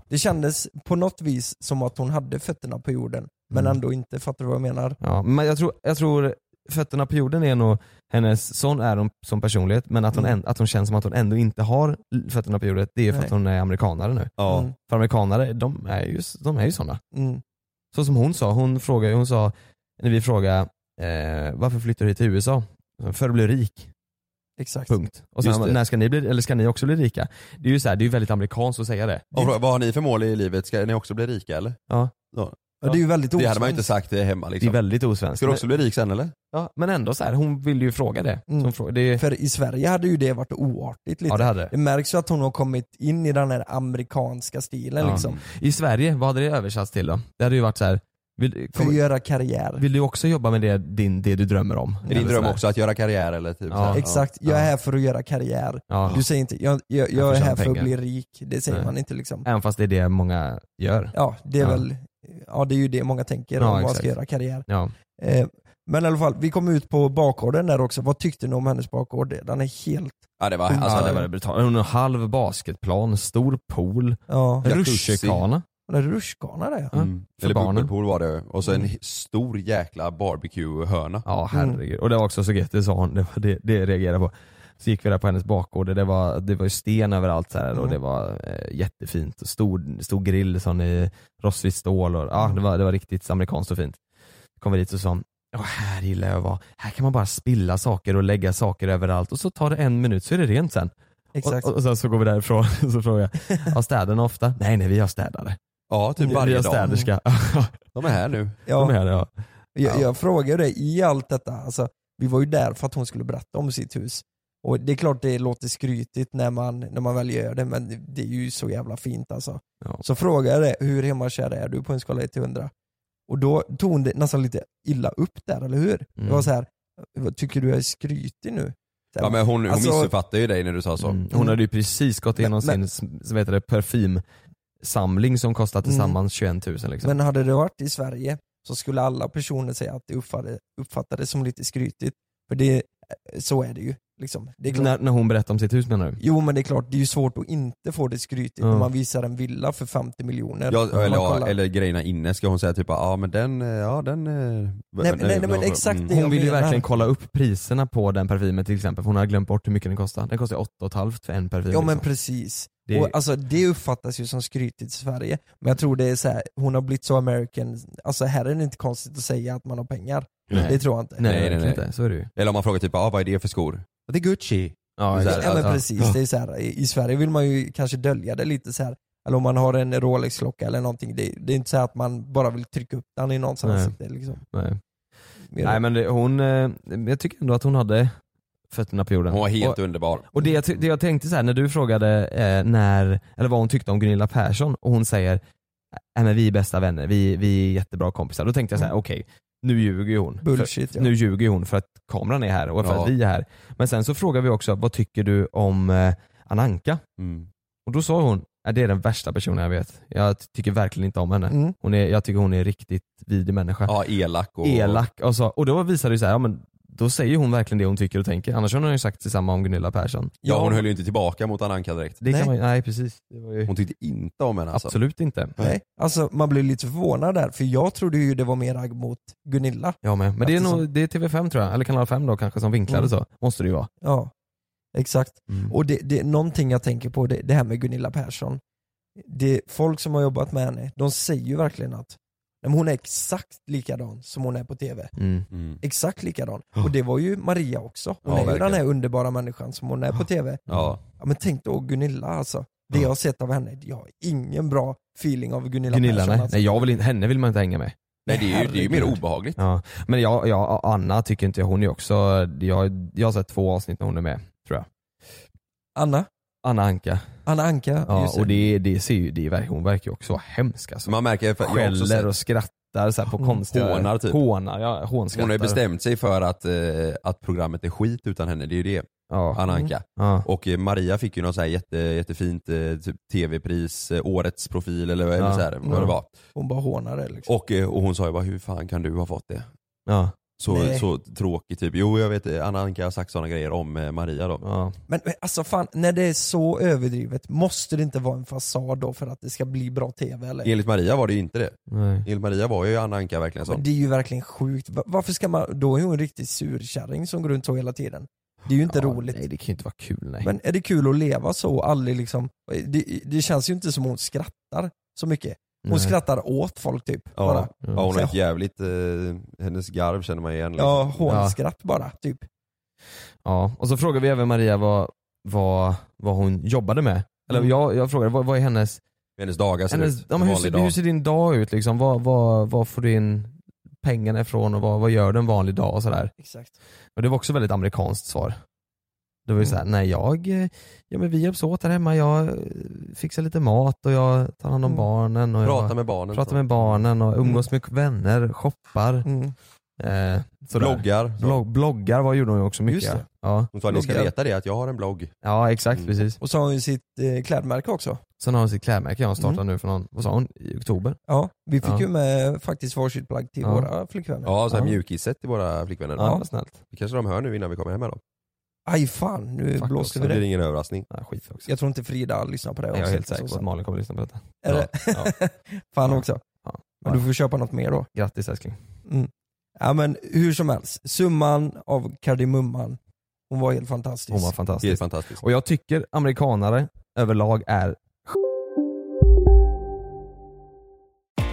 det kändes på något vis som att hon hade fötterna på jorden. Men
Mm.
ändå inte, fattar du vad jag menar?
Ja, men jag tror, jag tror fötterna på jorden är nog hennes, sån är hon som personlighet, men att hon,
Mm.
än, att hon känns som att hon ändå inte har l- fötterna på jorden, det är för
Nej.
att hon är amerikanare nu.
Ja.
Mm.
För amerikanare, de är ju, s- de är ju sådana.
Mm.
Så som hon sa, hon, frågade, hon sa, när vi frågade eh, varför flyttar du hit till USA? För att bli rik,
Exakt.
punkt. Och
Just det.
sen, när ska ni bli, eller ska ni också bli rika? Det är ju så här, det är ju väldigt amerikanskt att säga det.
Och fråga, vad har ni för mål i livet? Ska ni också bli rika eller?
Ja, det är ju väldigt
Det hade man ju inte
osvenskt.
sagt eh, hemma
Det är
liksom.
väldigt osvenskt.
Ska du också
Men,
bli rik sen eller?
ja, men ändå så här, hon ville ju fråga det.
Mm.
Så hon frågade, det
För i Sverige hade ju det varit oartigt lite.
ja det hade det.
Det märks ju att hon har kommit in i den här amerikanska stilen
Ja.
liksom.
I Sverige, vad hade det översatts till då? Det hade ju varit så här. Vill,
För att
kom,
göra karriär.
vill du också jobba med det, din, det du drömmer om?
Är din
Eller
dröm
sådär.
också att göra karriär eller? Typ,
Ja.
så här?
Exakt, jag är
ja.
här för att göra karriär.
Ja.
Du säger inte, jag, jag,
Jag
jag är
förtjänar
här för att
pengar.
bli rik. Det säger
Nej.
man inte liksom.
Även fast det är det många gör.
Ja, det är
Ja.
väl, ja det är ju det många tänker
Ja,
om man ska
exakt.
göra karriär.
Ja.
Eh, men i alla fall, vi kom ut på bakgården där också. Vad tyckte ni om hennes bakgård? Den är helt,
Ja det var,
Ja,
alltså,
ja,
det
det var det brutala. Hon har halv basketplan, stor pool,
ja,
Jacuzzi. Mm.
rutschkana.
hon är rutschkana där.
Ja. För
Eller
barnen.
bubbelpool var det och så en stor jäkla barbecue-hörna.
Ja
Mm.
herregud. Och det var också så gött, det sa hon, det, var det, det reagerade jag på. Så gick vi där på hennes bakgård och det var, det var ju sten överallt så här, och
Mm.
det var eh, jättefint. Och Stor, stor grill sån i rostfritt stål och ja, det, var, det var riktigt amerikanskt och fint. Kom vi dit och sa Åh, här gillar jag att vara. Här kan man bara spilla saker och lägga saker överallt och så tar det en minut så är det rent sen.
Exakt.
Och, och sen så går vi därifrån och så frågar jag, har städarna ofta? Nej nej vi har städare.
Ja, typ
vi
varje
har
dag.
städerska.
De är här nu.
De
ja,
är det, ja.
jag, jag frågade dig i allt detta, alltså, vi var ju där för att hon skulle berätta om sitt hus. Och det är klart det låter skrytigt när man, när man väl gör det, men det är ju så jävla fint alltså.
Ja.
Så frågade jag det, hur hemmakär är du på en skala 1 till 100? Och då tog hon det nästan lite illa upp där, eller hur?
Mm.
Det var så här, "Vad tycker du jag är skrytig nu? Så här,
Ja, men hon hon
Alltså-
missuppfattade ju dig när du sa så.
Mm. Hon hade ju precis gått igenom
Men-
sin, som heter det, parfym samling som
Mm.
kostar tillsammans 21 000 liksom.
Men hade det varit i Sverige så skulle alla personer säga att det uppfattades, uppfattades som lite skrytigt. För det, så är det ju. Liksom. Det är klart.
när, när hon berättar om sitt hus menar du?
Jo men det är klart, det är ju svårt att inte få det skrytigt
Ja.
när man visar en villa för 50 miljoner.
Ja,
Om man
eller, ja,
kollar.
eller Eh, grejerna inne, ska hon säga typ ja men den, eh, ja den... eh,
nej, nej, men exakt det jag
Mm. Alltså, Hon vill ju
menar.
verkligen kolla upp priserna på den parfymen till exempel, för hon har glömt bort hur mycket den kostar. Den kostar 8,5 för en parfym.
Ja men
liksom.
precis.
Det-
Och, alltså, det uppfattas ju som skrytigt i Sverige, men jag tror det är så här, hon har blivit så American, alltså här är det inte konstigt att säga att man har pengar.
Nej.
Det tror jag inte.
Nej,
Nej,
verkligen
nej.
inte. Så är det ju.
Eller om man frågar typ ja vad är det för skor? Ja, Det är Gucci.
Ja,
Det är
exakt.
så här, alltså-
Ja, men
Ja.
precis, det är så här, i, i Sverige vill man ju kanske dölja det lite så här. Eller om man har en Rolex-klocka eller någonting, det, det är inte så här att man bara vill trycka upp den i någons
Nej.
ansikte. Liksom.
Nej.
Mer-
Nej men det, hon, eh, jag tycker ändå att hon hade fötterna på jorden.
Hon var helt
och,
underbar.
och det, jag ty- det jag tänkte så här, när du frågade eh, när, eller vad hon tyckte om Gunilla Persson och hon säger Nej men vi är bästa vänner, vi, vi är jättebra kompisar. Då tänkte jag så här:
Mm.
okej, nu ljuger ju hon.
Bullshit,
för,
ja.
Nu ljuger ju hon för att kameran är här och för
Ja.
att vi är här. Men sen så frågar vi också, vad tycker du om eh, Ananka?
Mm.
Och då sa hon, "Ja, det är den värsta personen jag vet. Jag ty- tycker verkligen inte om henne.
Mm.
Hon är, jag tycker hon är en riktigt vidrig människa
Ja, elak och...
elak och, så, och då visar det sig här, ja, men då säger hon verkligen det hon tycker och tänker. Annars hade hon ju sagt detsamma om Gunilla Persson.
Ja hon höll ju inte tillbaka mot Ananka direkt.
det
Nej.
kan man, ju- nej precis. Det var ju,
Hon tyckte inte om henne alltså.
Absolut inte.
Nej. Alltså man blir lite förvånad där, för jag trodde ju det var mer agg mot Gunilla.
Jag med. Men det är,
Alltså,
Eftersom-
nog, det är TV5 tror jag, eller kanal 5 då kanske som vinklade
Mm.
så. Måste det ju vara.
Ja, exakt.
Mm.
Mm.
Och det, det, någonting jag tänker på, det, det här med Gunilla Persson. Det, folk som har jobbat med henne, de säger ju verkligen att nej, men hon är exakt likadan som hon är på TV.
Mm.
Mm.
Exakt likadan. Och det var ju Maria också. Hon
Ja,
är ju den
verkligen.
här underbara människan som hon är på TV.
Ja.
Ja, men tänk då Gunilla alltså. Det
Ja.
jag har sett av henne, jag har ingen bra feeling av Gunilla,
Gunilla
Persson.
nej.
Alltså.
nej jag vill inte, henne vill man inte hänga med.
Nej det är ju, det är ju mer
Herregud.
obehagligt.
Ja. Men jag, jag, Anna tycker inte jag, hon är också, jag, jag har sett två avsnitt när hon är med tror jag.
Anna,
Anna Anka.
Anna Anka, just
Ja, och det, det ser ju, det, verkar- hon verkar ju också hemsk alltså.
Så man märker, för jag har också
Skäller
sett,
och skrattar så här, på
Hon
konstiga...
hånar, typ.
Hånar, ja,
hon
hånskrattar.
har ju bestämt sig för att, eh, att programmet är skit utan henne, det är ju det.
Ja. Mm.
Ananka.
Ja.
Och eh, Maria fick ju något så här jätte, jättefint eh, typ tv-pris, eh, årets profil eller, eller
Ja.
så här, vad
Ja.
det var.
hon bara hånar det liksom.
Och, eh, och hon sa ju bara, hur fan kan du ha fått det?
Ja.
Så,
Nej.
så tråkigt typ. Jo jag vet, eh, Anna Anka har sagt sådana grejer om eh, Maria då.
Ja.
Men, men alltså fan, när det är så överdrivet, måste det inte vara en fasad då för att det ska bli bra TV eller?
Enligt Maria var det ju inte det.
Nej.
Enligt Maria var ju Anna Anka verkligen
Men
sån.
det är ju verkligen sjukt. Va- Varför ska man, då är hon en riktig surkärring som går runt så hela tiden. Det är ju inte
Ja,
roligt.
Nej det kan ju inte vara kul nej.
Men är det kul att leva så och aldrig liksom, det, det känns ju inte som hon skrattar så mycket. Hon
nej.
skrattar åt folk typ. Ja, bara.
Ja. Ja, hon har
Så-
ett jävligt, eh, hennes garv känner man igen. liksom.
ja hånskratt bara typ.
Ja. Och så frågar vi även Maria vad, vad, vad hon jobbade med. Eller jag, jag frågade vad, vad är hennes,
Hennes dagar ser
hennes
Mm. ut.
ja,
en
men hur,
vanlig
ser- hur ser din dag ut liksom? Vad, vad, vad får du in pengarna ifrån och vad, vad gör du en vanlig dag och sådär.
Exakt.
Och det var också väldigt amerikanskt svar. Det var
Mm.
ju såhär, nej jag, eh, ja men vi hjälps åt här hemma, jag eh, fixar lite mat och jag tar hand om
Mm.
barnen och
Prata
jag
med barnen. Mm.
pratar med barnen och umgås med vänner, shoppar.
Mm.
Eh, sådär.
Bloggar.
Blogg, bloggar var gjorde hon ju också mycket.
Just det.
Ja.
Hon sa ni ska
Bloggar.
veta det att jag har en blogg.
ja exakt
Mm.
precis.
Och så har hon ju sitt eh, klädmärke också.
Sen har hon sitt klädmärke hon
Mm.
startade nu för någon, vad sa hon, i oktober?
Ja, vi fick
Ja.
ju med faktiskt varsitt plagg till
Ja.
våra flickvänner.
Ja, så här mjukisset till våra flickvänner.
Ja, vad snällt.
Det kanske de hör nu innan vi kommer hem här då.
Aj fan, nu
Fuck
blåste
Så
vi
blir det
det.
ingen överraskning.
Ja, skit också.
Jag tror inte Frida lyssnar på det
Nej, jag är helt
avsnittet
säker
så
på att
sant.
Malin kommer lyssna på detta.
Är det?
Ja.
Fan
Ja.
också.
Ja.
Men du får köpa något mer då.
Grattis älskling.
Mm. Ja men hur som helst, summan av kardemumman, hon var helt fantastisk.
Hon var
Helt
fantastisk.
fantastiskt.
Och jag tycker amerikanare överlag är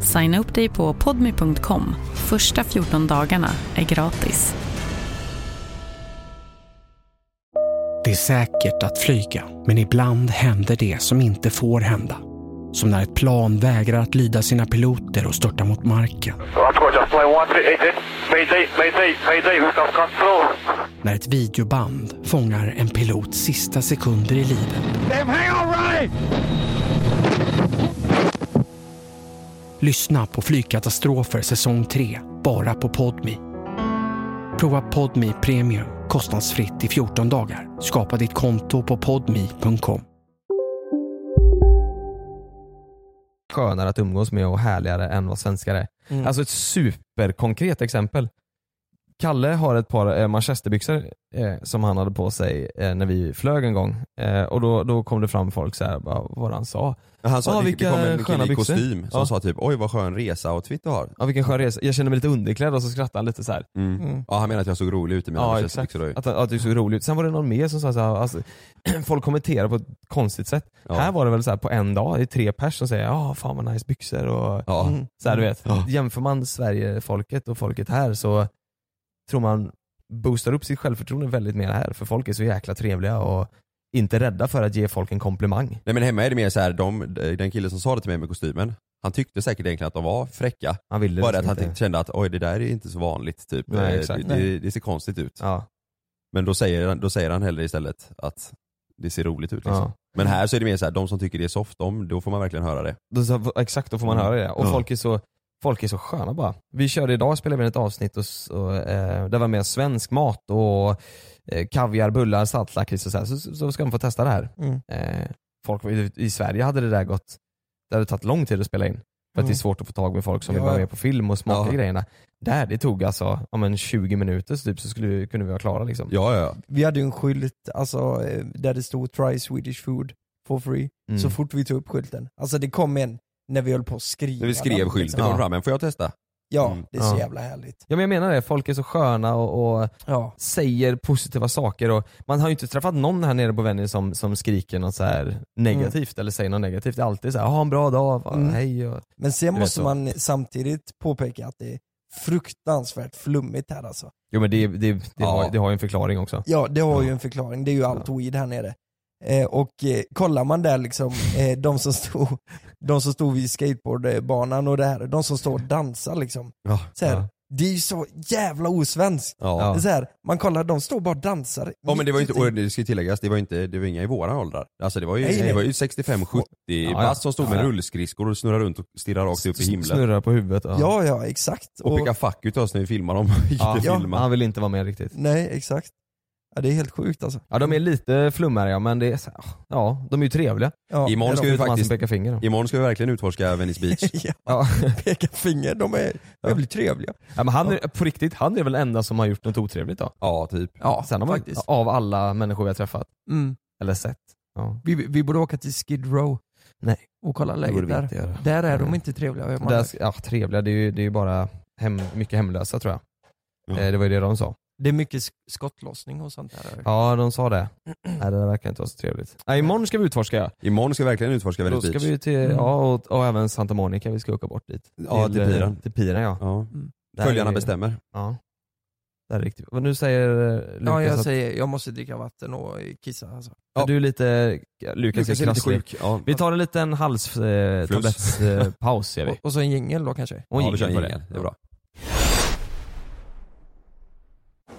Signa upp dig på podmi.com. Första 14 dagarna är gratis.
Det är säkert att flyga, men ibland händer det som inte får hända. Som när ett plan vägrar att lyda sina piloter och störtar mot marken. När ett videoband fångar en pilots sista sekunder i livet.
Damn, hang on, Ronnie!
Lyssna på Flygkatastrofer säsong 3, bara på Podmi. Prova Podmi Premium kostnadsfritt i 14 dagar. Skapa ditt konto på podmi.com.
skönare att umgås med och härligare än vad svenskar är.
Mm.
Alltså ett superkonkret exempel. Kalle har ett par eh, manchesterbyxor eh, som han hade på sig eh, när vi flög en gång. Eh, och då, då kom det fram folk så här, bara, vad han sa.
Han sa
"Ah,
att det- det
vilka
kom en
sköna
kille i
byxor."
kostym som
Ja.
sa typ oj vad skön resa-outfit du har.
Ja vilken skön resa. Jag kände mig lite underklädd och så skrattade han lite så här.
Mm. Ja han menar att jag såg rolig ut i mina
Ja exakt,
manchesterbyxor då ju.
att, att du såg rolig ut. Sen var det någon mer som sa såhär, alltså, folk kommenterar på ett konstigt sätt.
Ja.
Här var det väl så här på en dag, det är tre pers som säger ja fan vad nice byxor och Mm,
Ja.
så här, du vet.
Ja.
Jämför man Sverige-folket och folket här så tror man boostar upp sitt självförtroende väldigt mer här för folk är så jäkla trevliga och inte rädda för att ge folk en komplimang.
Nej men hemma är det mer så här, de, den killen som sa det till mig med kostymen, han tyckte säkert egentligen att de var fräcka.
Han ville
Bara
liksom
att han
inte.
kände att oj det där är inte så vanligt typ.
Nej,
Eh,
exakt.
det, det,
Nej.
det ser konstigt ut.
Ja.
Men då säger, han- då säger han hellre istället att det ser roligt ut liksom.
Ja.
Men här så är det mer så här, de som tycker det är soft, de, då får man verkligen höra det.
Då, så, exakt, då får man
Mm.
höra det. Och
Ja.
folk, är så, folk är så sköna bara. Vi körde idag, spelade vi in ett avsnitt och, s- och eh, där var med svensk mat och eh, kaviar, bullar, saltlakrits och så, här. Så, så ska de få testa det här.
Mm.
Eh, folk var- i, i Sverige hade det där gått, det hade tagit lång tid att spela in. För att det är
Mm.
svårt att få tag med folk som
Ja.
vill vara med på film och smaka
Ja.
grejerna. Där, det tog alltså om en 20 minuter så typ, så skulle vi, kunde vi vara klara liksom.
Ja, ja.
Vi hade ju en skylt alltså, eh, där det stod “Try Swedish food for free”
Mm.
så fort vi tog upp skylten. Alltså det kom en när vi höll på att skriva.
När vi skrev
den,
skylten kom
liksom.
fram, men får jag testa?
Ja,
Mm.
det är så jävla härligt.
Ja men jag menar det, folk är så sköna och, och säger positiva saker och man har ju inte träffat någon här nere på Vänern som, som skriker något så här negativt eller säger något negativt. Det är alltid så här, "Ah, ha en bra dag, va,
Mm.
hej och...
Men sen
Du vet
måste
så.
man samtidigt påpeka att det är fruktansvärt flummigt här alltså.
Jo men det, det, det, har, det har ju en förklaring också.
Ja, det har ju en förklaring. Det är ju allt weed här nere. Eh, och eh, kollar man där liksom, eh, de, som stod, de som stod vid skateboardbanan och det här, de som står och dansar liksom.
Ja.
Så här, Det är ju så jävla osvenskt.
Ja.
Det är Så här, man kollar, de står bara och dansar.
Ja men det var ju inte,
Mitt
och det ska ju tilläggas, det var ju inte, det var inga i våran åldrar. Alltså det var ju,
Nej, nej.
det var ju 65-70
ja.
bast som stod med
Ja, ja.
rullskridskor och snurrade runt och stirrade rakt upp i himlen.
Snurrar på huvudet.
Ja, ja, exakt.
Och peka fuck ut oss när vi filmar dem.
Ja.
Inte filma.
Han vill inte vara med riktigt.
Nej, exakt. Ja, det är helt sjukt alltså.
Ja
Mm.
de är lite flummariga men det är så, här, ja de är ju trevliga.
Ja,
imorgon, ska vi faktiskt,
peka finger.
imorgon ska vi verkligen utforska Venice Beach.
Ja.
Peka finger, de är väldigt trevliga.
Ja, men han är, på riktigt, han är väl den enda som har gjort något otrevligt då?
Ja typ.
Ja, Sen har man,
faktiskt.
Av alla människor vi har träffat.
Mm.
Eller sett. Ja.
Vi, vi borde åka till Skid Row
Nej.
och kolla
Det
läget
borde vi
där.
inte göra.
Där är de
Nej.
inte trevliga. hör man.
Där, ja, trevliga, det är ju, det är ju bara hem, mycket hemlösa tror jag. Eh, det var ju det de sa.
Det är mycket sk- skottlossning och sånt där.
Ja, de sa det. Nej, det där verkar inte vara så trevligt. Nej, imorgon ska vi utforska ja.
Imorgon ska vi verkligen utforska
Då
Venice
ska
Beach.
vi ju till,
Mm.
ja och, och även Santa Monica, vi ska åka bort dit.
Ja, till
eh,
piren.
Till piren ja.
Mm.
Där
Följarna
är det-
bestämmer.
Ja. Där är riktigt. Men nu säger eh, Lukas
Ja, jag
att
säger, jag måste dricka vatten och kissa alltså.
Ja. Du är lite, Lukas är krasslig. Vi tar en liten halstablettspaus eh, tablettspaus, gör vi.
Och, och så en jingel då kanske?
Och en
Ja, vi kör
jingle
en
på
jingle.
det är bra.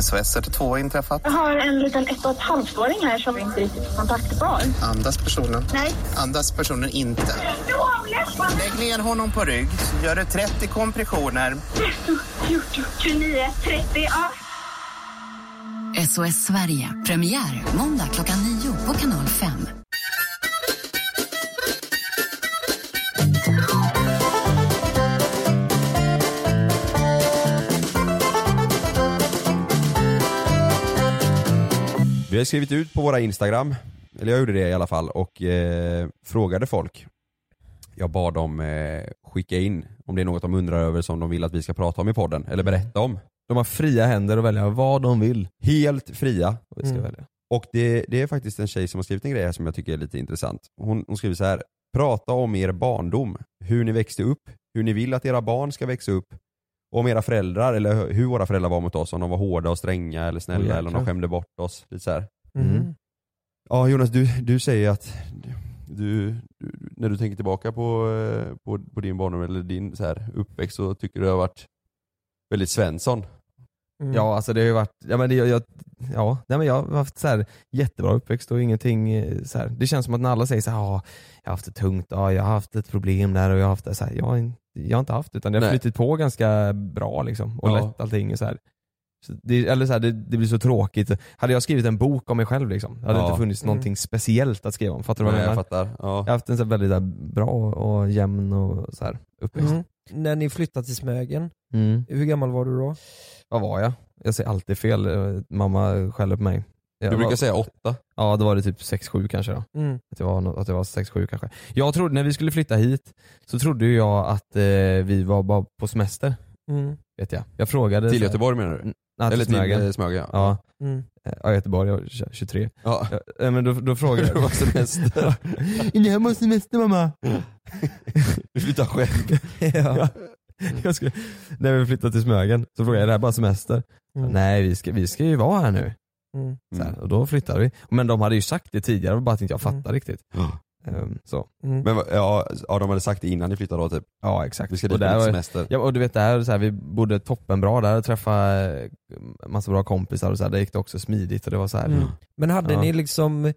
SOS Tele2 har inträffat.
Jag har en liten ett och ett halvt-åring här som inte riktigt är kontaktbar.
Andas personen?
Nej.
Andas personen inte? Lägg ner honom på rygg, så gör du 30 kompressioner.
14, 29, 30. Ja.
SOS Sverige. Premiär måndag klockan 9 på Kanal 5.
Vi har skrivit ut på våra Instagram, eller jag gjorde det i alla fall, och eh, frågade folk. Jag bad dem eh, skicka in om det är något de undrar över som de vill att vi ska prata om i podden,
Mm.
eller berätta om.
De har fria händer att välja vad de vill. Mm.
Helt fria.
Och vi ska välja.
Och det, det är faktiskt en tjej som har skrivit en grej här som jag tycker är lite intressant. Hon, hon skriver så här. Prata om er barndom, hur ni växte upp, hur ni vill att era barn ska växa upp, och om era föräldrar eller hur- hur våra föräldrar var mot oss, om de var hårda och stränga eller snälla
Oj,
eller om de
jäklar.
skämde bort oss. Lite så här.
Mm.
Ja Jonas, du, du säger att du, du, när du tänker tillbaka på, eh, på, på din barndom eller din så här, uppväxt så tycker du det har varit väldigt Svensson. Mm.
Ja alltså det har ju varit, ja men det, jag, jag, ja, nej, men jag har haft så här jättebra uppväxt och ingenting eh, så här. Det känns som att när alla säger så här, "Ja, jag har haft det tungt, ja, jag har haft ett problem där och jag har haft det så här, jag har, in- jag har inte haft det utan det har
Nej.
flyttit på ganska bra liksom och
Ja.
lätt allting så här. Så det, eller så här, det, det blir så tråkigt. Hade jag skrivit en bok om mig själv liksom, hade det
Ja.
inte funnits
Mm.
någonting speciellt att skriva om. Fattar du vad
Nej,
jag
jag
menar?
fattar. Ja.
Jag har haft en så här väldigt så här, bra och, och jämn och så här, uppväxt.
Mm. När ni flyttade till Smögen,
Mm.
hur gammal var du då?
Vad var jag? Jag säger alltid fel, Eh, mamma skäller på mig. Jag
Du brukar
var,
säga åtta.
Ja, då var det typ 6-7 kanske då.
Mm.
Att det var, nå- att det var 6-7 kanske. Jag trodde, när vi skulle flytta hit, så trodde ju jag att eh, vi var bara på semester.
Mm.
Vet jag. Jag frågade...
Till Göteborg menar du?
Nej,
Eller
till
till,
Smögen.
eh, Smögen, ja.
ja. Eh,
Mm.
Ja, Göteborg, jag var tj- 23.
Ja.
Eh, men då, då frågade
Det var semester.
Är hemma på semester mamma?
Du flyttar själv.
ja. jag skulle, när vi flyttade till Smögen så frågade jag, är det här bara semester?
Mm.
Nej vi ska, vi ska ju vara här nu.
Mm.
Så här, och då flyttade vi. Men de hade ju sagt det tidigare, det var bara att inte jag fattade riktigt. Ehm, så.
Mm.
Men vad- ja, ja, de hade sagt det innan ni flyttade då typ.
Ja exakt.
Vi ska
och
dit på lite
var-
semester.
Ja och du vet det här, så här vi bodde toppenbra där, träffade eh, massa bra kompisar och så här, det gick det också smidigt och det var så här.
Mm. Men hade
Ja.
ni liksom,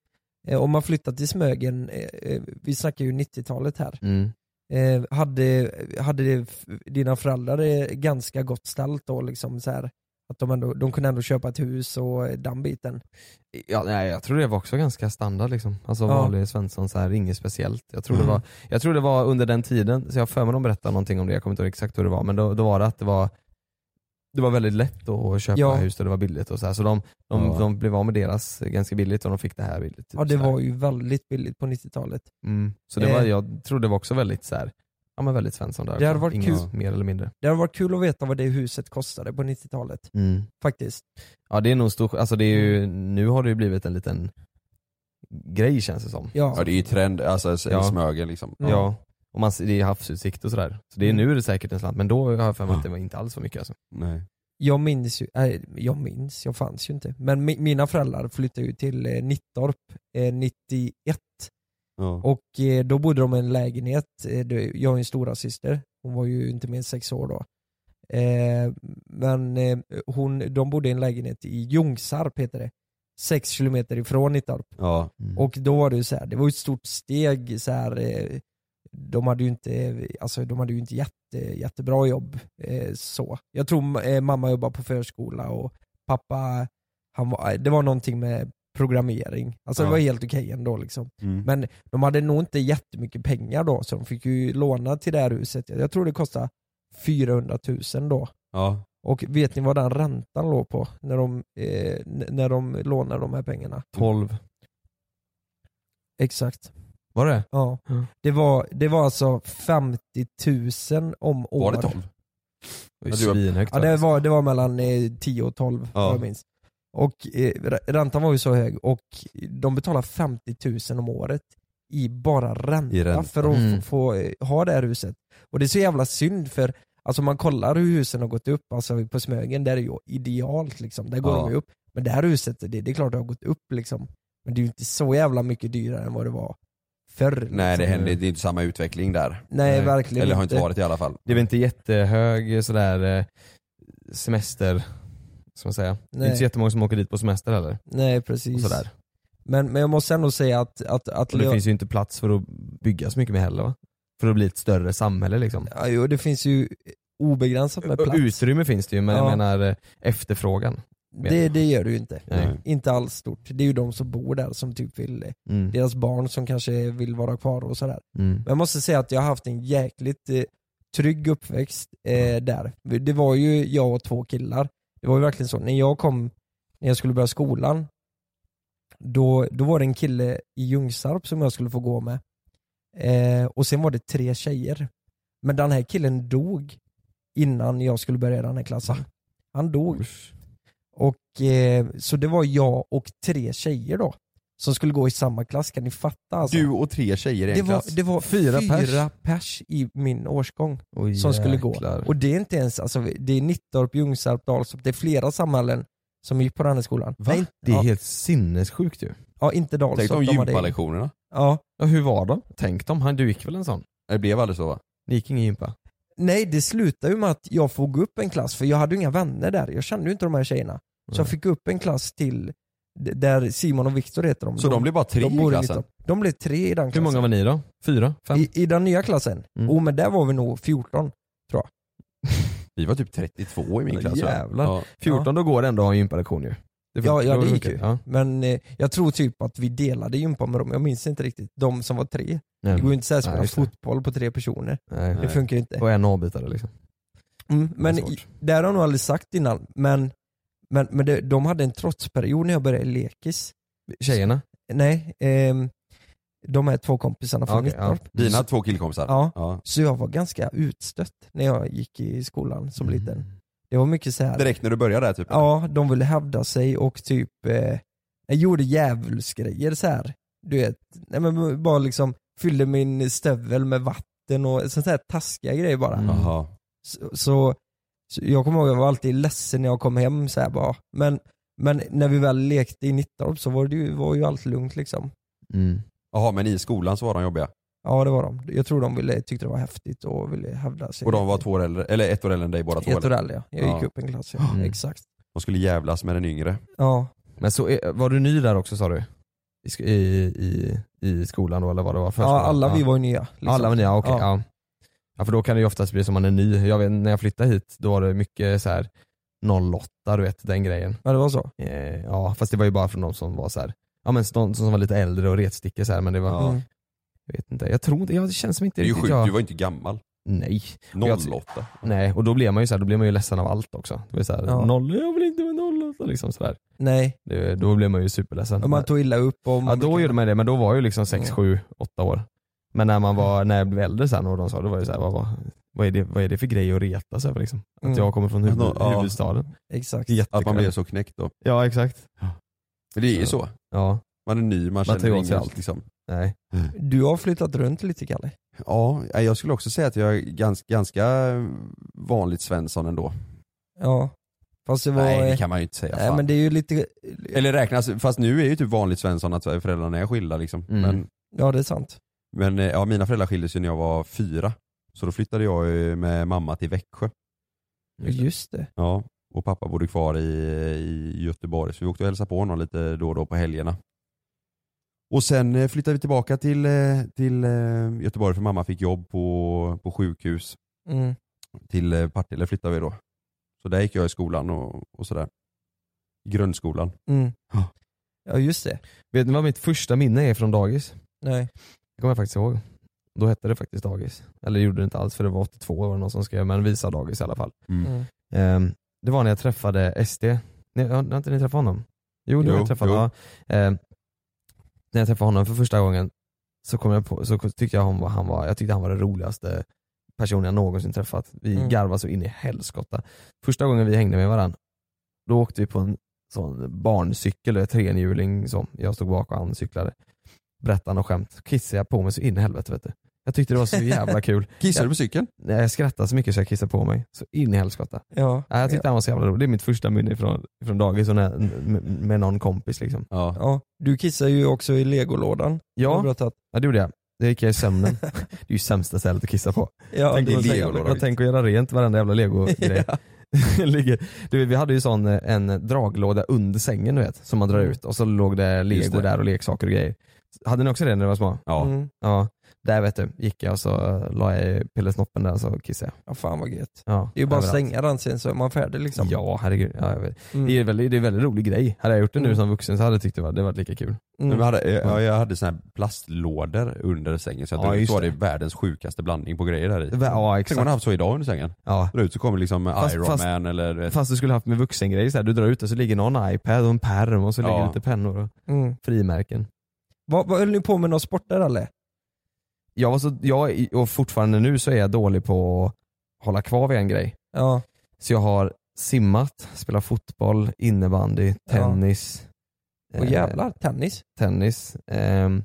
eh, om man flyttat till Smögen, eh, eh, vi snackar ju 90-talet här,
Mm.
eh, hade, hade det f- dina föräldrar det ganska gott ställt då liksom så här? Att de, ändå, de kunde ändå köpa ett hus och eh, den
Typ
biten?
Ja, nej, jag tror det var också ganska standard liksom. Alltså
Ja.
vanlig svensson, så här, inget speciellt. Jag tror,
Mm.
det var, jag tror det var under den tiden, så jag har för mig de berättade någonting om det, jag kommer inte ihåg exakt hur det var, men då, då var det att det var det var väldigt lätt då att köpa
Ja.
hus och det var billigt och så här. så de, de,
Ja.
de blev av med deras ganska billigt och de fick det här billigt. typ
Ja det
så här.
var ju väldigt billigt på 90-talet.
Mm. Så det var,
Eh.
jag tror det var också väldigt så här, ja men väldigt svensson där.
Det hade
också.
varit
Inget
kul.
mer eller mindre.
Det hade varit kul att veta vad det huset kostade på 90-talet.
Mm.
Faktiskt. Mm.
Ja det är nog stor, alltså det är ju, nu har det ju blivit en liten grej känns det som.
Ja.
Ja det är ju trend, alltså s-
Ja.
Smögen liksom.
Ja. Och man, ser- det är havsutsikt och sådär. Så det
Mm.
är, nu är det säkert en slant, men då har jag för mig att det var inte alls så mycket alltså.
Nej.
Jag minns ju, nej, jag minns, jag fanns ju inte. Men mi, mina föräldrar flyttade ju till eh, Nittorp eh, 91
Ja.
och eh, då bodde de i en lägenhet. Eh, det- jag har ju en stora syster. hon var ju inte mer än sex år då. Eh, men eh, hon, de bodde i en lägenhet i Ljungsarp heter det. Sex kilometer ifrån Nittorp.
Ja.
Mm.
Och då var det ju så här, det var ju ett stort steg så här, eh, de hade ju inte, alltså de hade ju inte jätte, jättebra jobb eh, så. Jag tror eh, mamma jobbade på förskola och pappa, han var, eh, det var någonting med programmering. Alltså det
Ja.
var helt okej ändå liksom.
Mm.
Men de hade nog inte jättemycket pengar då så de fick ju låna till det här huset. Jag tror det kostade 400 000 då.
Ja.
Och vet ni vad den räntan låg på när de, eh, n- när de lånade de här pengarna?
12.
Exakt.
Var det?
Ja. Det, var, det var alltså 50 000 om året.
Var det 12?
Det var ju svinhögt. alltså.
Ja, det, var, det var mellan eh, 10 och 12
Ja.
vad jag minns. Och eh, rä- räntan var ju så hög och de betalar 50 000 om året i bara ränta,
I ränta.
för att få,
Mm.
få eh, ha det här huset. Och det är så jävla synd för Alltså man kollar hur husen har gått upp, alltså på Smögen där är det ju idealt liksom, där går
Ja.
de ju upp. Men det här huset, det, det är klart det har gått upp liksom. Men det är ju inte så jävla mycket dyrare än vad det var förr.
Nej det
liksom.
händer, det är inte samma utveckling där.
Nej, verkligen
Eller har
inte.
inte varit i alla fall.
Det är väl inte jättehög sådär eh, semester, ska man säga. Det är
Nej.
inte så jättemånga som åker dit på semester heller.
Nej precis.
Och sådär.
Men, men jag måste ändå säga att... att, att
Och det finns ju inte plats för att bygga så mycket mer heller va? För att bli ett större samhälle liksom.
Ja, jo, det finns ju
obegränsat med plats.
Utrymme finns det ju men
Ja.
jag menar eh, efterfrågan.
Det, det gör det ju inte.
Nej.
Inte alls stort. Det är ju de som bor där som typ vill,
Mm.
deras barn som kanske vill vara kvar och sådär.
Mm.
Men jag måste säga att jag har haft en jäkligt eh, trygg uppväxt eh, där. Det var ju jag och två killar. Det var ju verkligen så, när jag kom, när jag skulle börja skolan, då, då var det en kille i Ljungsarp som jag skulle få gå med. Eh, och sen var det tre tjejer. Men den här killen dog innan jag skulle börja i den här klassen. Han dog. Och, eh, så det var jag och tre tjejer då, som skulle gå i samma klass. Kan ni fatta? Alltså?
Du och tre tjejer i en
det var,
klass?
det var fyra,
Fyra
fyra
pers?
pers. i min årsgång som skulle gå.
jäklar.
Och det är inte ens, alltså, det är Nittorp, Ljungsarp, Dalstorp, det är flera samhällen som gick på den här skolan. Nej,
Det är
ja,
helt sinnessjukt ju.
ja, inte Dalstorp.
Tänk de
hade-
gympalektionerna.
Ja.
ja. Hur var de? Tänk dem, han, du gick väl en sån? Det blev aldrig så va? Ni gick ingen gympa?
Nej, det slutade ju med att jag får gå upp en klass, för jag hade ju inga vänner där. Jag kände ju inte de här tjejerna. Så jag fick gå upp en klass till, d- där Simon och Viktor heter de.
Så de blev bara tre i
bor
klassen?
Nittorp. De blev tre i den
Hur
klassen.
många var ni då? Fyra? Fem? Mm.
I, I den nya klassen? Oh, men där var vi nog 14, tror jag.
Vi var typ 32 i min
Ja,
klass va?
jävlar.
Ja.
14,
då går det ändå att ha gympalektion ju.
ja, ja, det gick ju. Men eh, jag tror typ att vi delade gympa med dem, jag minns inte riktigt. De som var tre.
Nej.
Det går ju inte så här att spela
Nej, just det.
fotboll på tre personer.
Nej.
Det funkar ju inte.
Och en avbitare liksom.
Mm, men
Det är
i- det har de nog aldrig sagt innan, men, men, men det, de hade en trotsperiod när jag började i lekis.
Tjejerna?
Nej, ehm, de här två kompisarna från
Okej, ja.
Nittorp.
Dina
Så-
två killkompisar?
Ja. Så jag var ganska utstött när jag gick i skolan som liten. Det var mycket så här.
Mm. Direkt när du började där typ?
Ja, de ville hävda sig och typ eh, jag gjorde djävulsgrejer så här. Du vet, nej men bara liksom fyllde min stövel med vatten och sånt här taskiga grejer bara.
Jaha.
Så, så, så jag kommer ihåg att jag var alltid ledsen när jag kom hem så här bara. Men, men när vi väl lekte i Nittorp så var, det ju, var ju allt lugnt liksom.
Mm. Jaha, men i skolan så var de jobbiga?
Ja det var de. Jag tror de ville, tyckte det var häftigt och ville hävda sig.
Och de var två år äldre, eller ett år äldre än dig båda två?
Ett år
eller?
äldre ja. Jag gick upp en klass ja.
Mm.
Exakt.
De skulle jävlas med den yngre.
Ja.
Men så var du ny där också sa du? I, sk- i, i, i skolan då eller vad det var?
Ja, alla vi var ju nya. liksom.
Alla var nya, okej.
Ja.
ja. Ja. för då kan det ju oftast bli som man är ny. Jag vet, när jag flyttade hit då var det mycket så här 08, du vet den grejen.
Ja det var så?
Eh, ja, fast det var ju bara från de som var så här, ja men de som var lite äldre och retstickor så här, men det var,
Mm.
jag vet inte, jag tror inte, jag det känns som inte
Det är ju
riktigt
sjukt,
jag...
du var
inte gammal. Nej.
08.
nej, och då blir man ju så här, då blir man ju ledsen av allt också. Det var så här,
Ja.
noll, jag vill inte vara 08 liksom sådär.
Nej.
Det, då blev man ju superledsen.
Och man tog illa upp och
Ja
man
då gjorde man det, men då var jag ju liksom 6,
Ja.
7, 8 år. Men när man var, när jag blev äldre sen och de sa det var ju såhär, vad, vad, vad, är det, vad är det för grej att retas över liksom? Att
Mm.
jag kommer från huvud,
Ja.
huvudstaden.
Exakt.
Jättekul.
knäckt då.
Ja exakt.
Men det är ju så.
Ja.
Man är ny, man,
tar
känner
åt sig
inget.
allt.
Liksom.
Nej.
Mm.
Du har flyttat runt lite Kalle.
Ja, nej, jag skulle också säga att jag är ganska, ganska vanligt Svensson ändå.
Ja. Fast det var...
Nej det kan man ju inte säga.
Nej
fan.
men det är ju lite,
Eller räknas, fast nu är ju typ vanligt Svensson att föräldrarna är skilda liksom.
Mm.
Men,
ja det är sant.
men eh, ja, mina föräldrar skildes ju när jag var fyra. Så då flyttade jag ju med mamma till Växjö.
Just det.
Ja, och pappa bodde kvar i, i Göteborg så vi åkte och hälsade på honom lite då och då på helgerna. Och sen eh, flyttade vi tillbaka till, eh, till eh, Göteborg för mamma fick jobb på, på sjukhus.
Mm.
Till eh, Partille flyttade vi då. Så där gick jag i skolan och, och sådär. I grundskolan.
Mm. Ja just det.
Vet ni vad mitt första minne är från dagis?
Nej.
Det kommer jag faktiskt ihåg. Då hette det faktiskt dagis. Eller det gjorde det inte alls för det var 82 var det någon som skrev, men visa dagis i alla fall.
Mm.
Ehm, det var när jag träffade SD. Nej, har har inte ni träffat honom? Jo, det har
Jo,
jag träffat.
jo.
Ja. Ehm, när jag träffade honom för första gången så, kom jag på, så tyckte jag, hon var, han var, jag tyckte han var den roligaste personen jag någonsin träffat. Vi
Mm.
garvade så in i helskotta. Första gången vi hängde med varandra, då åkte vi på en sån barncykel, en trehjuling som jag stod bak och han cyklade. Berättade något skämt, kissade jag på mig så in i helvete vet du. Jag tyckte det var så jävla kul.
Kissade du
Jag-
på cykeln?
Nej, jag skrattade så mycket så jag kissade på mig. Så in i helskotta.
Ja.
Nej, jag tyckte han var så jävla rolig. Det är mitt första minne från, från dagis och när, med, med någon kompis liksom.
Ja.
ja. Du kissade ju också i legolådan. Har du
Ja,
berättat.
ja det gjorde jag. Det gick jag i sömnen. det är ju sämsta stället att kissa på.
Ja,
tänk,
det var så
jag,
jävla
jag tänker göra rent varenda jävla legogrej. Ligger- du vet, vi hade ju sån,
Mm.
eh, en draglåda under sängen du vet, som man drar ut och så låg det
Just
lego
det.
där och leksaker och grejer.
Hade ni också det när ni var små?
Ja.
Mm.
ja. Där vet du, gick jag och så eh, la jag pillesnoppen där och så kissade jag.
Ja, fan vad gött.
Ja,
Det är ju bara att
överallt.
slänga den sen så är man färdig liksom.
Ja, herregud. Ja, jag vet.
Mm.
Det är ju väldigt- det är en väldigt rolig grej. Hade jag gjort det nu
Mm.
som vuxen så hade jag tyckt det var, det var lika kul.
Men vi hade, eh, jag, jag hade såna här plastlådor under sängen så jag
Ja,
drog ut
just
så var det
det.
världens sjukaste blandning på grejer där i.
Va- ja,
Tänk om
exakt.
man hade haft så idag under sängen.
Ja.
Dra ut så kommer liksom
Fast-
Iron
fast-
Man eller eh, du vet,
Fast du skulle haft med vuxengrejer så här, du drar ut och så ligger någon iPad och en pärm och så ligger
Ja.
lite pennor och
Mm.
frimärken.
Vad, vad höll ni på med några sporter eller?
Jag var så, jag, och fortfarande nu så är jag dålig på att hålla kvar vid en grej.
Ja.
Så jag har simmat, spelat fotboll, innebandy, tennis.
Och
eh,
jävlar, tennis.
tennis. ehm,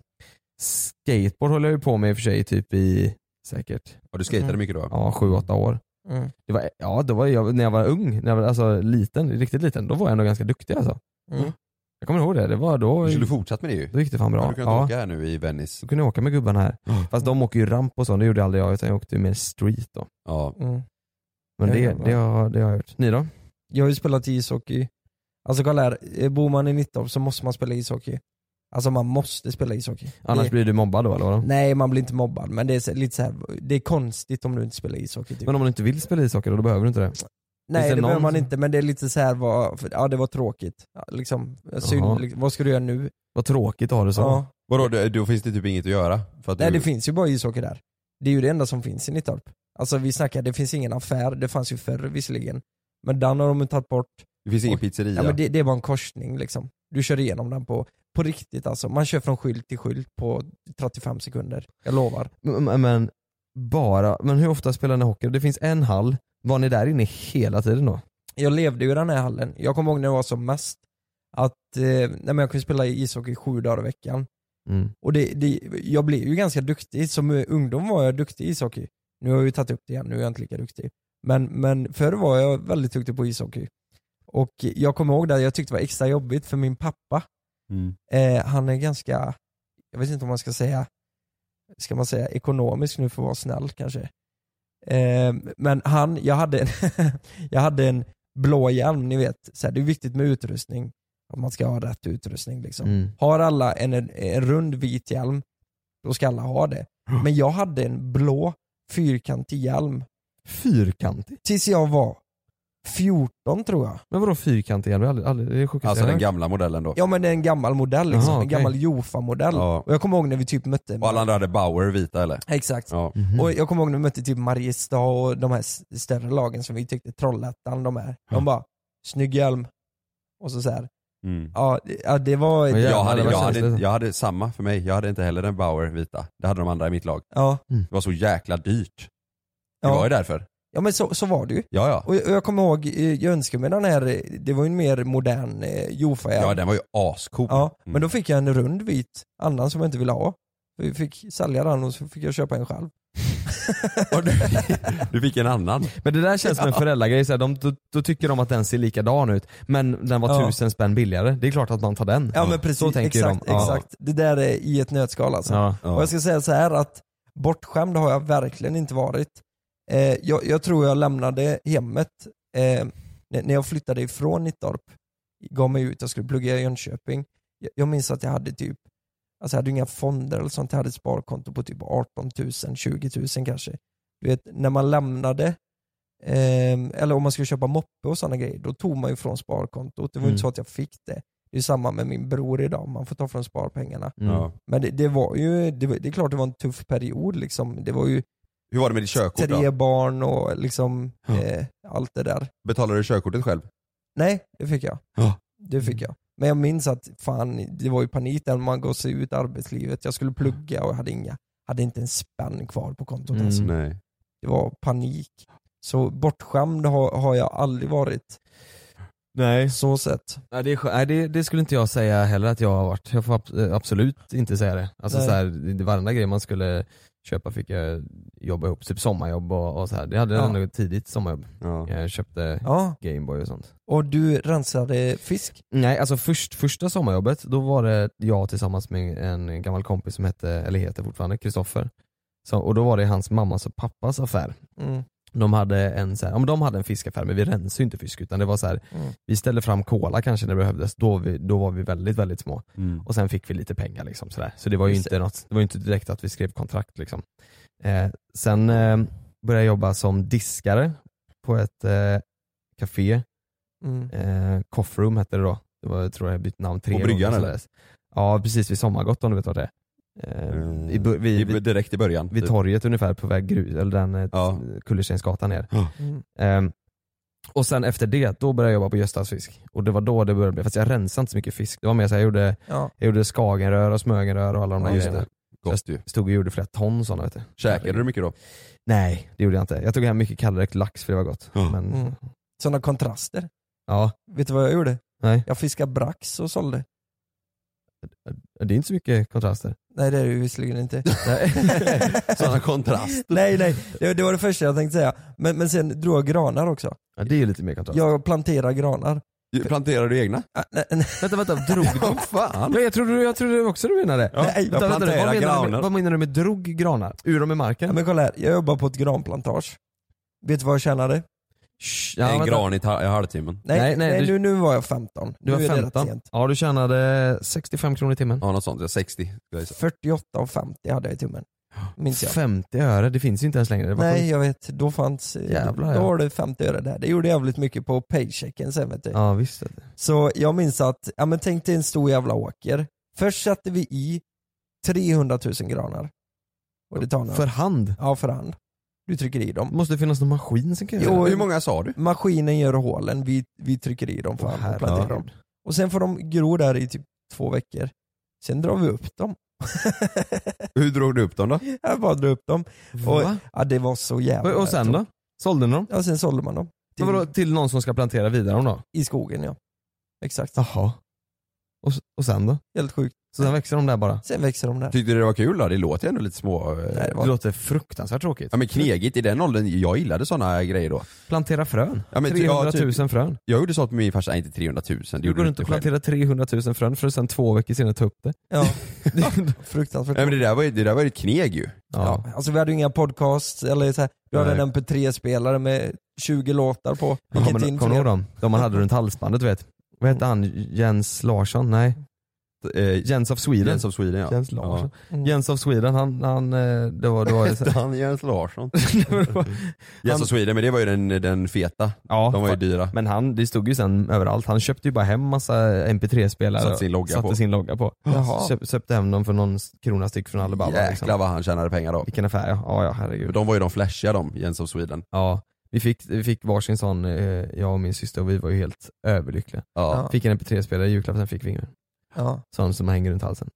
skateboard håller jag ju på med i och för sig typ i säkert
Ja, du skatade
Mm.
mycket då?
Ja, sju, åtta år.
Mm.
Det var, ja, då var jag, när jag var ung, när jag var alltså, liten, riktigt liten, då var jag nog ganska duktig alltså.
Mm.
Jag kommer ihåg det, det var då...
Du skulle fortsatt med det ju.
Då gick det fan bra.
Du kan
Ja.
åka här nu i Venice.
Då kunde jag åka med gubbarna här. Fast de åker ju ramp och sånt, det gjorde aldrig jag utan jag åkte ju mer street då.
Ja.
Mm.
Men
Ja,
det,
jävlar.
det, har, det har jag gjort. Ni då?
Jag har ju spelat ishockey. Alltså kolla här, eh, bor man i Nittorp så måste man spela ishockey. Alltså man måste spela ishockey.
Annars
det,
blir du mobbad då eller vadå?
Nej man blir inte mobbad men det är så- lite så här, det är konstigt om du inte spelar ishockey typ.
Men om man inte vill spela ishockey då, då behöver du inte det?
Nej
Finns
det,
någon
behöver man
som-
inte men det är lite så här vad, för, ja det var tråkigt. Ja, Liksom,
Jaha.
synd, liksom, vad ska du göra nu?
Vad tråkigt att ha det så.
Ja.
Vadå, då, då finns det typ inget att göra? För att
Nej
du...
det finns ju bara ishockey där. Det är ju det enda som finns i Nittorp. Alltså vi snackar, det finns ingen affär, det fanns ju förr visserligen. Men den har de tagit bort.
Det finns ingen pizzeria?
Ja, men det, det är bara en korsning liksom. Du kör igenom den på, på riktigt alltså. Man kör från skylt till skylt på 35 sekunder. Jag lovar.
Men, men- men, bara, men hur ofta spelar ni hockey? Det finns en hall, var ni där inne hela tiden då?
Jag levde ju i den här hallen. Jag kommer ihåg när jag var som mest att eh, nej, men jag kunde spela ishockey sju dagar i veckan.
Mm.
Och det, det, jag blev ju ganska duktig. Som eh, ungdom var jag duktig i ishockey. Nu har jag ju tagit upp det igen, nu är jag inte lika duktig. Men, men förr var jag väldigt duktig på ishockey. Och jag kommer ihåg det, jag tyckte det var extra jobbigt för min pappa Eh, han är ganska, jag vet inte om man ska säga, ska man säga ekonomisk nu för att vara snäll kanske. Eh, men han, jag hade en, jag hade en blå hjälm, ni vet, så här, det är viktigt med utrustning, att man ska ha rätt utrustning liksom.
Mm.
Har alla en, en, en rund vit hjälm, då ska alla ha det. Men jag hade en blå fyrkantig hjälm
Fyrkantig?
tills jag var 14 tror jag.
Men vadå fyrkantig hjälm? Det är aldrig- aldrig- det är sjukaste
Alltså
jag
den
hört.
gamla modellen då?
Ja men det är en gammal modell liksom,
Jaha,
en
okej.
gammal Jofa-modell.
Ja.
Och jag kommer ihåg när vi typ mötte
Och alla andra hade Bauer vita eller? Mm.
Exakt.
Ja.
Och jag kommer ihåg när vi mötte typ Mariestad och de här s- större lagen som vi tyckte, Trollhättan, de här. De bara, snygg hjälm. Och så, så här.
Mm.
Ja, det- ja, det var...
Jag,
ja,
hade,
det var
jag,
känsligt.
hade, jag hade samma för mig, jag hade inte heller den Bauer vita. Det hade de andra i mitt lag.
Ja.
Det var så jäkla dyrt. Det
Ja.
var ju därför.
ja, men så, så var det ju.
Ja ja.
Och jag, och jag kommer ihåg, eh, jag önskade mig den här, eh, det var ju en mer modern eh, Jofa-hjälm.
Ja den var ju ascool. Mm.
Ja, men då fick jag en rund vit annan som jag inte ville ha. Vi fick sälja den och så fick jag köpa en själv.
Du fick en annan.
Men det där känns som en
Ja.
föräldragrej, så här, de, då, då tycker de att den ser likadan ut men den var
Ja.
tusen spänn billigare. Det är klart att man tar den.
Ja men precis,
Så tänker ju
exakt,
de. Ja.
exakt. Det där är i ett nötskal alltså.
Ja, ja.
Och jag ska säga så här att bortskämd har jag verkligen inte varit. Eh, jag, jag tror jag lämnade hemmet eh, när, när jag flyttade ifrån Nittorp, gav mig ut, jag skulle plugga i Jönköping. Jag, jag minns att jag hade typ, alltså jag hade inga fonder eller sånt, jag hade ett sparkonto på typ 18 000, 20 000 kanske. Du vet, när man lämnade Ehm, eller om man skulle köpa moppe och sådana grejer, då tog man ju från sparkontot. Det var ju
Mm.
inte så att jag fick det. Det är ju samma med min bror idag, man får ta från sparpengarna.
Mm. Ja.
Men det, det var ju, det, var- det är klart det var en tuff period liksom. Det var ju
Hur var det med ditt körkort
tre
då?
barn och liksom eh, allt det där.
Betalade du körkortet själv?
Nej, det fick jag.
Ja.
Det fick jag. Men jag minns att fan, det var ju panik när man gav sig ut i arbetslivet. Jag skulle plugga och jag hade inga, hade inte en spänn kvar på kontot
Mm.
alltså.
Nej.
Det var panik. Så bortskämd har, har jag aldrig varit.
Nej.
Så sett.
Nej, det, är, skö- nej det, det skulle inte jag säga heller att jag har varit. Jag får ab- eh, absolut inte säga det. Alltså
Nej.
så här, det- varenda grej man skulle köpa fick jag jobba ihop, typ sommarjobb och, och så här. Det hade jag
Ja.
ändå tidigt sommarjobb. Jag köpte
Ja.
Gameboy och sånt.
Och du rensade fisk?
Nej, alltså först, första sommarjobbet, då var det jag tillsammans med en gammal kompis som hette, eller heter fortfarande, Kristoffer. Så- Och då var det hans mammas och pappas affär.
Mm.
De hade en, så här, ja, men de hade en fiskaffär men vi rensade ju inte fisk utan det var så här,
Mm.
vi ställde fram kola kanske när det behövdes, då, vi, då var vi väldigt väldigt små.
Mm.
Och sen fick vi lite pengar liksom sådär. Så det var ju
Just
inte, något, det var ju inte direkt att vi skrev kontrakt liksom. Eh, sen eh, började jag jobba som diskare på ett eh, café.
Mm.
Eh, Coffroom hette det då. Det var, jag tror jag bytt namn tre
På bryggan,
gånger,
eller?
sådär. Ja precis, vid Sommargott om du vet vad det är. Eh, i, bu- vi,
Mm. I- direkt i början.
vid
typ.
torget ungefär på väg grus, eller den eh, Kullerstensgatan ner.
Mm.
Ehm, och sen efter det, då började jag jobba på Göstas fisk. Och det var då det började bli, fast jag rensade inte så mycket fisk. Det var mer så här, jag gjorde,
Ja.
jag gjorde skagenrör och smögenrör och alla de där
Ja, just
grejerna.
det. Gott ju.
Jag stod och gjorde flera ton sådana vet du.
Käkade du mycket då?
Nej, det gjorde jag inte. Jag tog hem mycket kallräkt lax för det var gott. Men,
Mm. Sådana kontraster.
ja.
Vet du vad jag gjorde?
Nej.
Jag fiskade brax och sålde.
Det är inte så mycket kontraster.
Nej det är det ju visserligen inte.
Sådana kontraster.
nej nej, det, det var det första jag tänkte säga. Men, men sen drog jag granar också.
Ja, det är ju lite mer kontrast.
Jag planterar granar.
Planterar du egna?
Ah,
Vänta, vänta, drog du?
fan?
Nej, jag trodde, jag trodde också du menade.
Ja, jag
vänta, vänta,
planterar
vad, menar du
granar.
med, vad menar du med drog granar? Ur dem i marken?
Ja, men kolla här, jag jobbar på ett granplantage. Vet du vad jag tjänade?
Ja,
en
vänta.
gran i, ta- i halvtimmen.
Nej, nej,
du-
nu, nu var jag 15.
Du var
nu är det rätt
15?
sent.
Ja, du tjänade 65 kronor i timmen.
Ja något sånt, ja, 60.
48 och 50 hade jag i tummen. Minns jag.
50 öre, det finns ju inte ens längre. Det var
Nej
sjukt.
jag vet, då fanns,
Jävlar,
då
ja.
var det 50 öre där. Det gjorde jävligt mycket på paychecken sen vet du.
Ja, visst.
Så jag minns att, ja men tänk dig en stor jävla åker. Först satte vi i 300 000 granar. Och det tar några-
För hand?
Ja för hand. Du trycker i dem.
Måste det finnas någon maskin som kan göra
Jo,
det?
Maskinen gör hålen, vi, vi trycker i dem för
Åh,
hand och
herregud.
planterar dem. Och sen får de gro där i typ två veckor. Sen drar vi upp dem.
Hur drog du upp dem då?
Jag bara drar upp dem.
Va?
Och, ja, det var så jävla
Och- och sen då? Sålde ni dem?
Ja sen sålde man dem.
Men vadå, till någon som ska plantera vidare dem då?
I skogen ja. Exakt.
Jaha. Och, s- och sen då?
Helt sjukt.
Så sen växer de där bara?
Sen växer de där.
Tyckte du det var kul då? Det låter ändå lite små... Nej,
det låter fruktansvärt tråkigt.
Ja men knegigt i den åldern, jag gillade sådana grejer då.
Plantera frön.
Ja, men ty-
300
ja,
000
typ-
frön.
Jag gjorde sånt med min farsa, nej inte 300 000, det
Du
gjorde
går
du
runt
inte
och
själv.
planterar 300 000 frön för att sen två veckor senare ta upp det.
Ja.
Nej
Fruktansvärt.
men det där var ju, det där var ju ett kneg ju.
Ja. Alltså vi hade ju inga podcasts eller så här, vi hade
Nej.
en mp3-spelare med 20 låtar på.
Ja,
Vilket
kommer
in
kommer du
fler-
ihåg dem? De man hade runt halsbandet du vet. Vad hette han? Jens Larsson? Nej. Eh, Jens of Sweden.
Jens of Sweden, ja.
Jens Larsson.
Ja. Mm.
Jens of Sweden, han, han eh, det var, det var det så
Hette han Jens Larsson? Jens
Han-
och Sweden, men det var ju den, den feta.
Ja,
De var ju
fa-
dyra.
Men han, det stod ju sen överallt. Han köpte ju bara hem massa mp3-spelare.
Satte sin logga
satte
på.
sin logga på.
Jaha.
Köp, köpte hem dem för någon krona styck från Alibaba.
Jäklar
liksom.
vad han tjänade pengar då.
Vilken affär ja. Ja, ja herregud.
De var ju de flashiga de, Jens of Sweden.
Ja, vi fick, vi fick varsin sån, eh, jag och min syster, och vi var ju helt överlyckliga.
Ja.
Fick en mp3-spelare i julklapp, sen fick vi ingen.
Ja.
Sån som hänger runt halsen.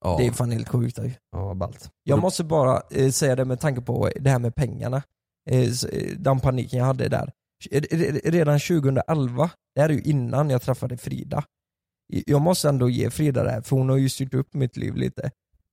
Ja.
Det är fan helt sjukt. Aj.
Ja, vad ballt.
Jag måste bara eh, säga det med tanke på det här med pengarna. Eh, så, eh, den paniken jag hade där. Eh, re- Redan 2011, det här är ju innan jag träffade Frida. I- Jag måste ändå ge Frida det här för hon har ju styrt upp mitt liv lite.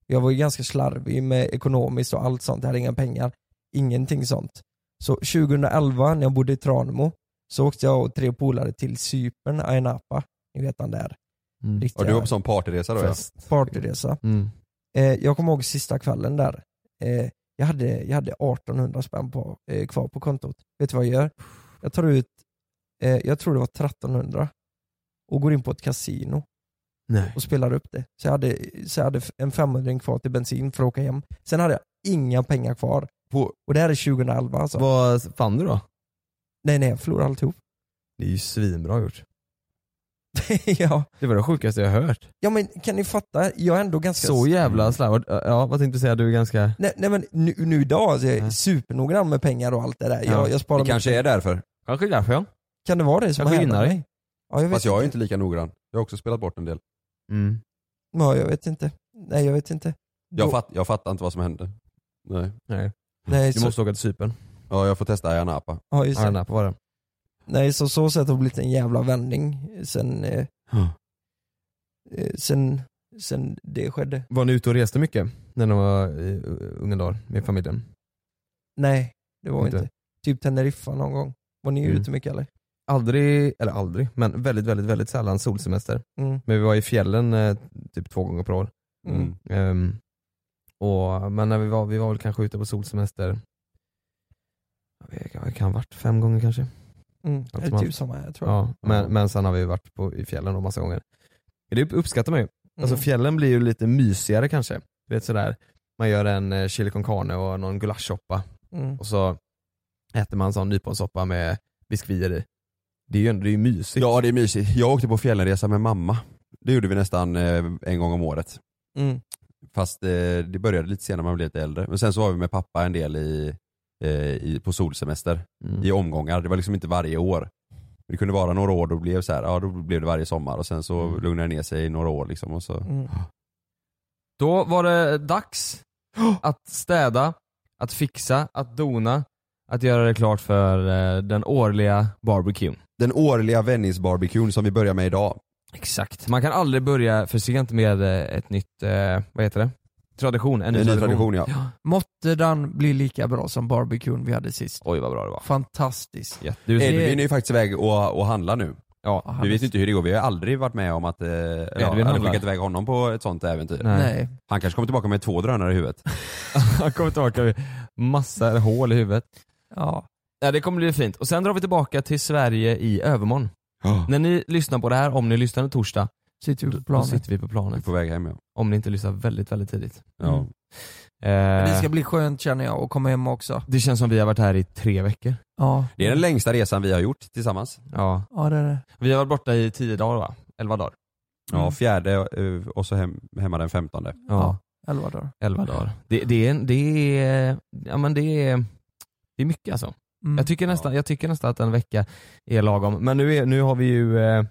Jag var ju ganska slarvig med ekonomiskt och allt sånt. Jag hade inga pengar. Ingenting sånt. Så 2011 när jag bodde i Tranemo så åkte jag och tre polare till Cypern, Ayia Napa. Ni vet han där.
Mm.
Riktiga-
Och du var på sån partyresa då ja.
Partyresa.
Mm.
Eh, jag kommer ihåg sista kvällen där. Eh, jag, hade, jag hade 1800 spänn på, eh, kvar på kontot. Vet du vad jag gör? Jag tar ut, eh, jag tror det var 1300 och går in på ett kasino
Nej.
och spelar upp det. Så jag hade, så jag hade f- en 500 kvar till bensin för att åka hem. Sen hade jag inga pengar kvar. Och det här är 2011 alltså.
Vad fann du då?
Nej nej, jag förlorade alltihop.
Det är ju svinbra gjort.
ja.
Det var det sjukaste jag hört.
ja men kan ni fatta? Jag Mm. är ändå ganska...
Så jävla slarvigt. Ja, vad tänkte du säga? Du är ganska...
Nej, nej men nu, nu idag alltså, jag är supernoggrann med pengar och allt det där. Jag, jag sparar
det kanske är därför.
Kanske därför ja.
Kan det vara det som
Kanske
händer
gynnar dig.
mig? Ja, jag vet
Fast jag är ju inte lika noggrann. Jag har också spelat bort en del.
Mm.
Ja, jag vet inte. Nej, jag vet inte.
Jag,
Då-
fatt, jag fattar inte vad som hände. Nej.
Nej.
Nej,
du
så-
måste
åka till Cypern.
Ja, jag får testa Ayia Napa.
Ja, just det. Ayia
Napa var det.
Nej, så så sätt har det blivit en jävla vändning sen, eh, eh, sen, sen det skedde.
Var ni ute och reste mycket? När ni var i eh, unga dagar med familjen?
Nej, det var
Inte.
inte. Typ Teneriffa någon gång. Var ni
Mm.
ute mycket eller?
Aldrig, eller aldrig, men väldigt, väldigt, väldigt sällan solsemester.
Mm.
Men vi var i fjällen eh, typ två gånger per år.
Mm.
Ehm, och, men när vi var, vi var väl kanske ute på solsemester det kan ha varit fem gånger kanske.
Mm.
Allt
Är det
allt.
du som är, tror jag?
Ja, men, men sen har vi ju varit på, i fjällen då massa gånger. Men Det upp- uppskattar man ju. Alltså
Mm.
fjällen blir ju lite mysigare kanske. Du vet sådär, man gör en eh, chili con carne och någon gulaschsoppa
Mm.
och så äter man sån nyponsoppa med biskvier i. Det är ju ändå det är ju mysigt.
Ja det är mysigt. Jag åkte på fjällresa med mamma. Det gjorde vi nästan eh, en gång om året.
Mm.
Fast eh, det började lite senare, man blev lite äldre. Men sen så var vi med pappa en del i, eh, i, på solsemester
Mm.
i omgångar. Det var liksom inte varje år. Men Det kunde vara några år då blev så här, ja, då blev det varje sommar och sen så
Mm.
lugnade det ner sig i några år liksom. Och så.
Då var det dags att städa, att fixa, att dona, att göra det klart för eh, den årliga barbecuen.
Den årliga Venice-barbecuen som vi börjar med idag.
Exakt. Man kan aldrig börja för sent med eh, ett nytt, eh, vad heter det? Tradition. En,
En ny tradition, ja.
Måtte den bli lika bra som barbecuen vi hade sist.
Oj vad bra det var.
Fantastiskt.
Du-
Edvin är ju faktiskt iväg och, och handlar nu.
Ja,
vi vet inte hur det går, vi har aldrig varit med om att eh, eller, ja,
Edvin
hade
handlar.
skickat iväg honom på ett sånt äventyr.
Nej. Nej.
Han kanske kommer tillbaka med två drönare i huvudet.
Han kommer tillbaka med massa hål i huvudet. Ja. ja. Det kommer bli fint. Och sen drar vi tillbaka till Sverige i övermorgon. När ni lyssnar på det här, om ni lyssnar en torsdag,
sitter vi på
då
planet.
sitter vi på planet.
På väg hem ja.
Om ni inte lyssnar väldigt, väldigt tidigt.
Ja. Men
Eh,
Det ska bli skönt känner jag att komma hem också.
Det känns som vi har varit här i tre veckor.
Ja,
Det är den längsta resan vi har gjort tillsammans.
Ja.
ja det är det.
Vi har varit borta i tio dagar va? Elva dagar.
Ja, fjärde eh, och så hem, hemma den femtonde.
Mm. Ja.
Elva dagar.
Elva dagar. Det, det, är, det, är, ja, men det, är, det är mycket alltså.
Mm.
Jag, tycker nästan, jag tycker nästan att en vecka är lagom. Men nu, är, nu har vi ju, eh,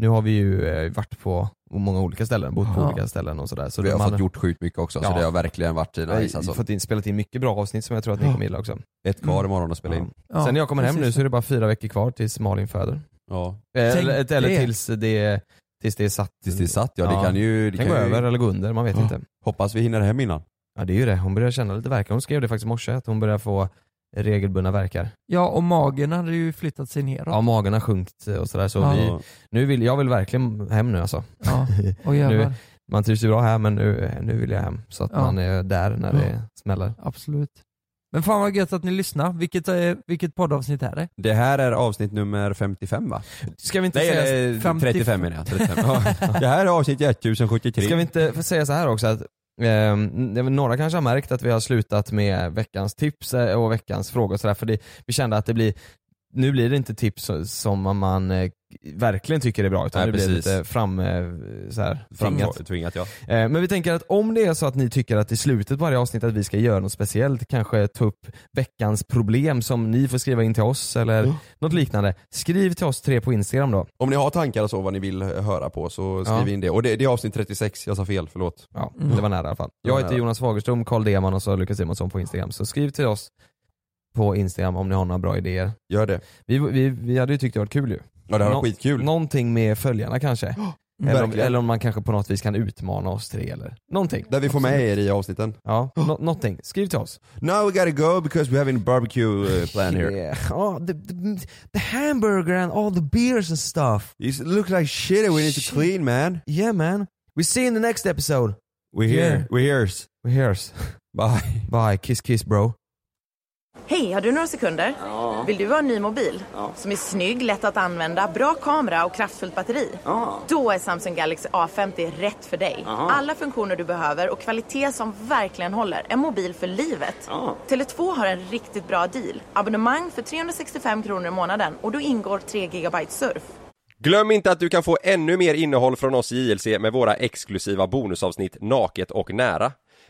nu har vi ju eh, varit på många olika ställen, bott på
Ja.
olika ställen och sådär. Så
vi har
man-
fått gjort sjukt mycket också så
Ja.
det har verkligen varit
Vi har
nice alltså.
fått in, spelat in mycket bra avsnitt som jag tror att ni
Ja.
kommer gilla också.
Ett
Mm.
kvar imorgon att spela in.
Ja,
Sen när jag kommer hem
precis.
nu så är det bara fyra veckor kvar tills Malin föder.
Ja.
Eller,
Tänk
eller
det.
tills, det, tills det är satt.
Tills det är satt ja, det kan ju... Det
kan gå
ju-
över eller gå under, man vet
Ja.
inte.
Hoppas vi hinner hem innan.
Ja det är ju det, hon börjar känna lite värkar. Hon skrev det faktiskt i morse, att hon börjar få regelbundna värkar.
Ja, och magen hade ju flyttat sig neråt.
Ja magen har sjunkit och sådär så
Ja.
vi, nu vill, jag vill verkligen hem nu alltså.
Ja, och
nu,
jävlar.
man trivs ju bra här men nu, nu vill jag hem så att
Ja.
man är där när det smäller.
Absolut. Men fan vad gött att ni lyssnar. Vilket, eh, vilket poddavsnitt är det?
Det här är avsnitt nummer 55 va?
Ska vi inte
Nej,
säga-
eller
50
35 menar jag. 35. Ja. det här är avsnitt 1073.
Ska vi inte få säga så här också att eh, några kanske har märkt att vi har slutat med veckans tips eh, och veckans frågor och sådär för det, vi kände att det blir nu blir det inte tips som man eh, verkligen tycker är bra utan
Nej,
det blir
precis.
lite fram, eh, så här, framtvingat.
Framtvingat ja.
Eh, Men vi tänker att om det är så att ni tycker att i slutet på varje avsnitt att vi ska göra något speciellt, kanske ta upp veckans problem som ni får skriva in till oss eller något liknande. Skriv till oss tre på Instagram då.
Om ni har tankar och så vad ni vill höra på så skriv
Ja.
in det. Och det, det är avsnitt 36, jag sa fel, förlåt.
Ja, det var nära i alla fall. Jag heter Jonas Fagerström, Karl Deman och så Lukas Simonsson på Instagram. Så skriv till oss på Instagram om ni har några bra idéer.
Gör det.
Vi, vi, vi hade ju tyckt det varit kul ju.
Ja det här var
Nå-
skitkul. Mm.
Någonting med följarna kanske. Eller om,
verkligen.
eller om man kanske på något vis kan utmana oss tre eller någonting.
Där vi får med er i avsnitten.
Ja, nå- någonting. Skriv till oss.
Now we gotta go because we're having barbecue uh, plan here.
Yeah. Oh, the, the, the hamburger and all the beers and stuff.
It looks like shit and we need to clean man.
Yeah man. We see you in the next episode.
We here,
Yeah.
we here's.
We hears.
Bye.
Bye. Kiss kiss bro.
Hej, har du några sekunder? Vill du ha en ny mobil? Som är snygg, lätt att använda, bra kamera och kraftfullt batteri? Då är Samsung Galaxy A50 rätt för dig. Alla funktioner du behöver och kvalitet som verkligen håller. En mobil för livet. Tele2 har en riktigt bra deal. Abonnemang för 365 kronor i månaden och då ingår 3 GB surf.
Glöm inte att du kan få ännu mer innehåll från oss i JLC med våra exklusiva bonusavsnitt Naket och nära.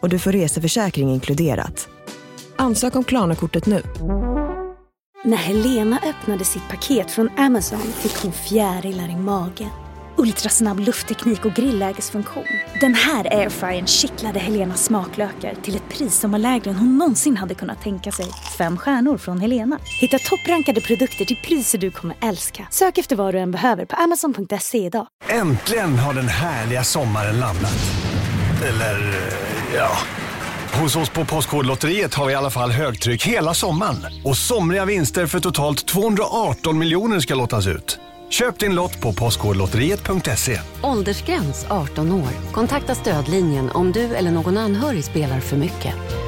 och du får reseförsäkring inkluderat. Ansök om Klarna-kortet nu.
När Helena öppnade sitt paket från Amazon fick hon fjärilar i magen.
ultrasnabb luftteknik och grillägesfunktion. Den här airfryern kittlade Helenas smaklökar till ett pris som var lägre än hon någonsin hade kunnat tänka sig. Fem stjärnor från Helena. Hitta topprankade produkter till priser du kommer älska. Sök efter vad du än behöver på amazon.se idag.
Äntligen har den härliga sommaren landat. Eller, eh, ja. Hos oss på Postkodlotteriet har vi i alla fall högtryck hela sommaren. Och somriga vinster för totalt 218 miljoner ska lottas ut. Köp din lott på postkodlotteriet.se.
Åldersgräns 18 år. Kontakta stödlinjen om du eller någon anhörig spelar för mycket.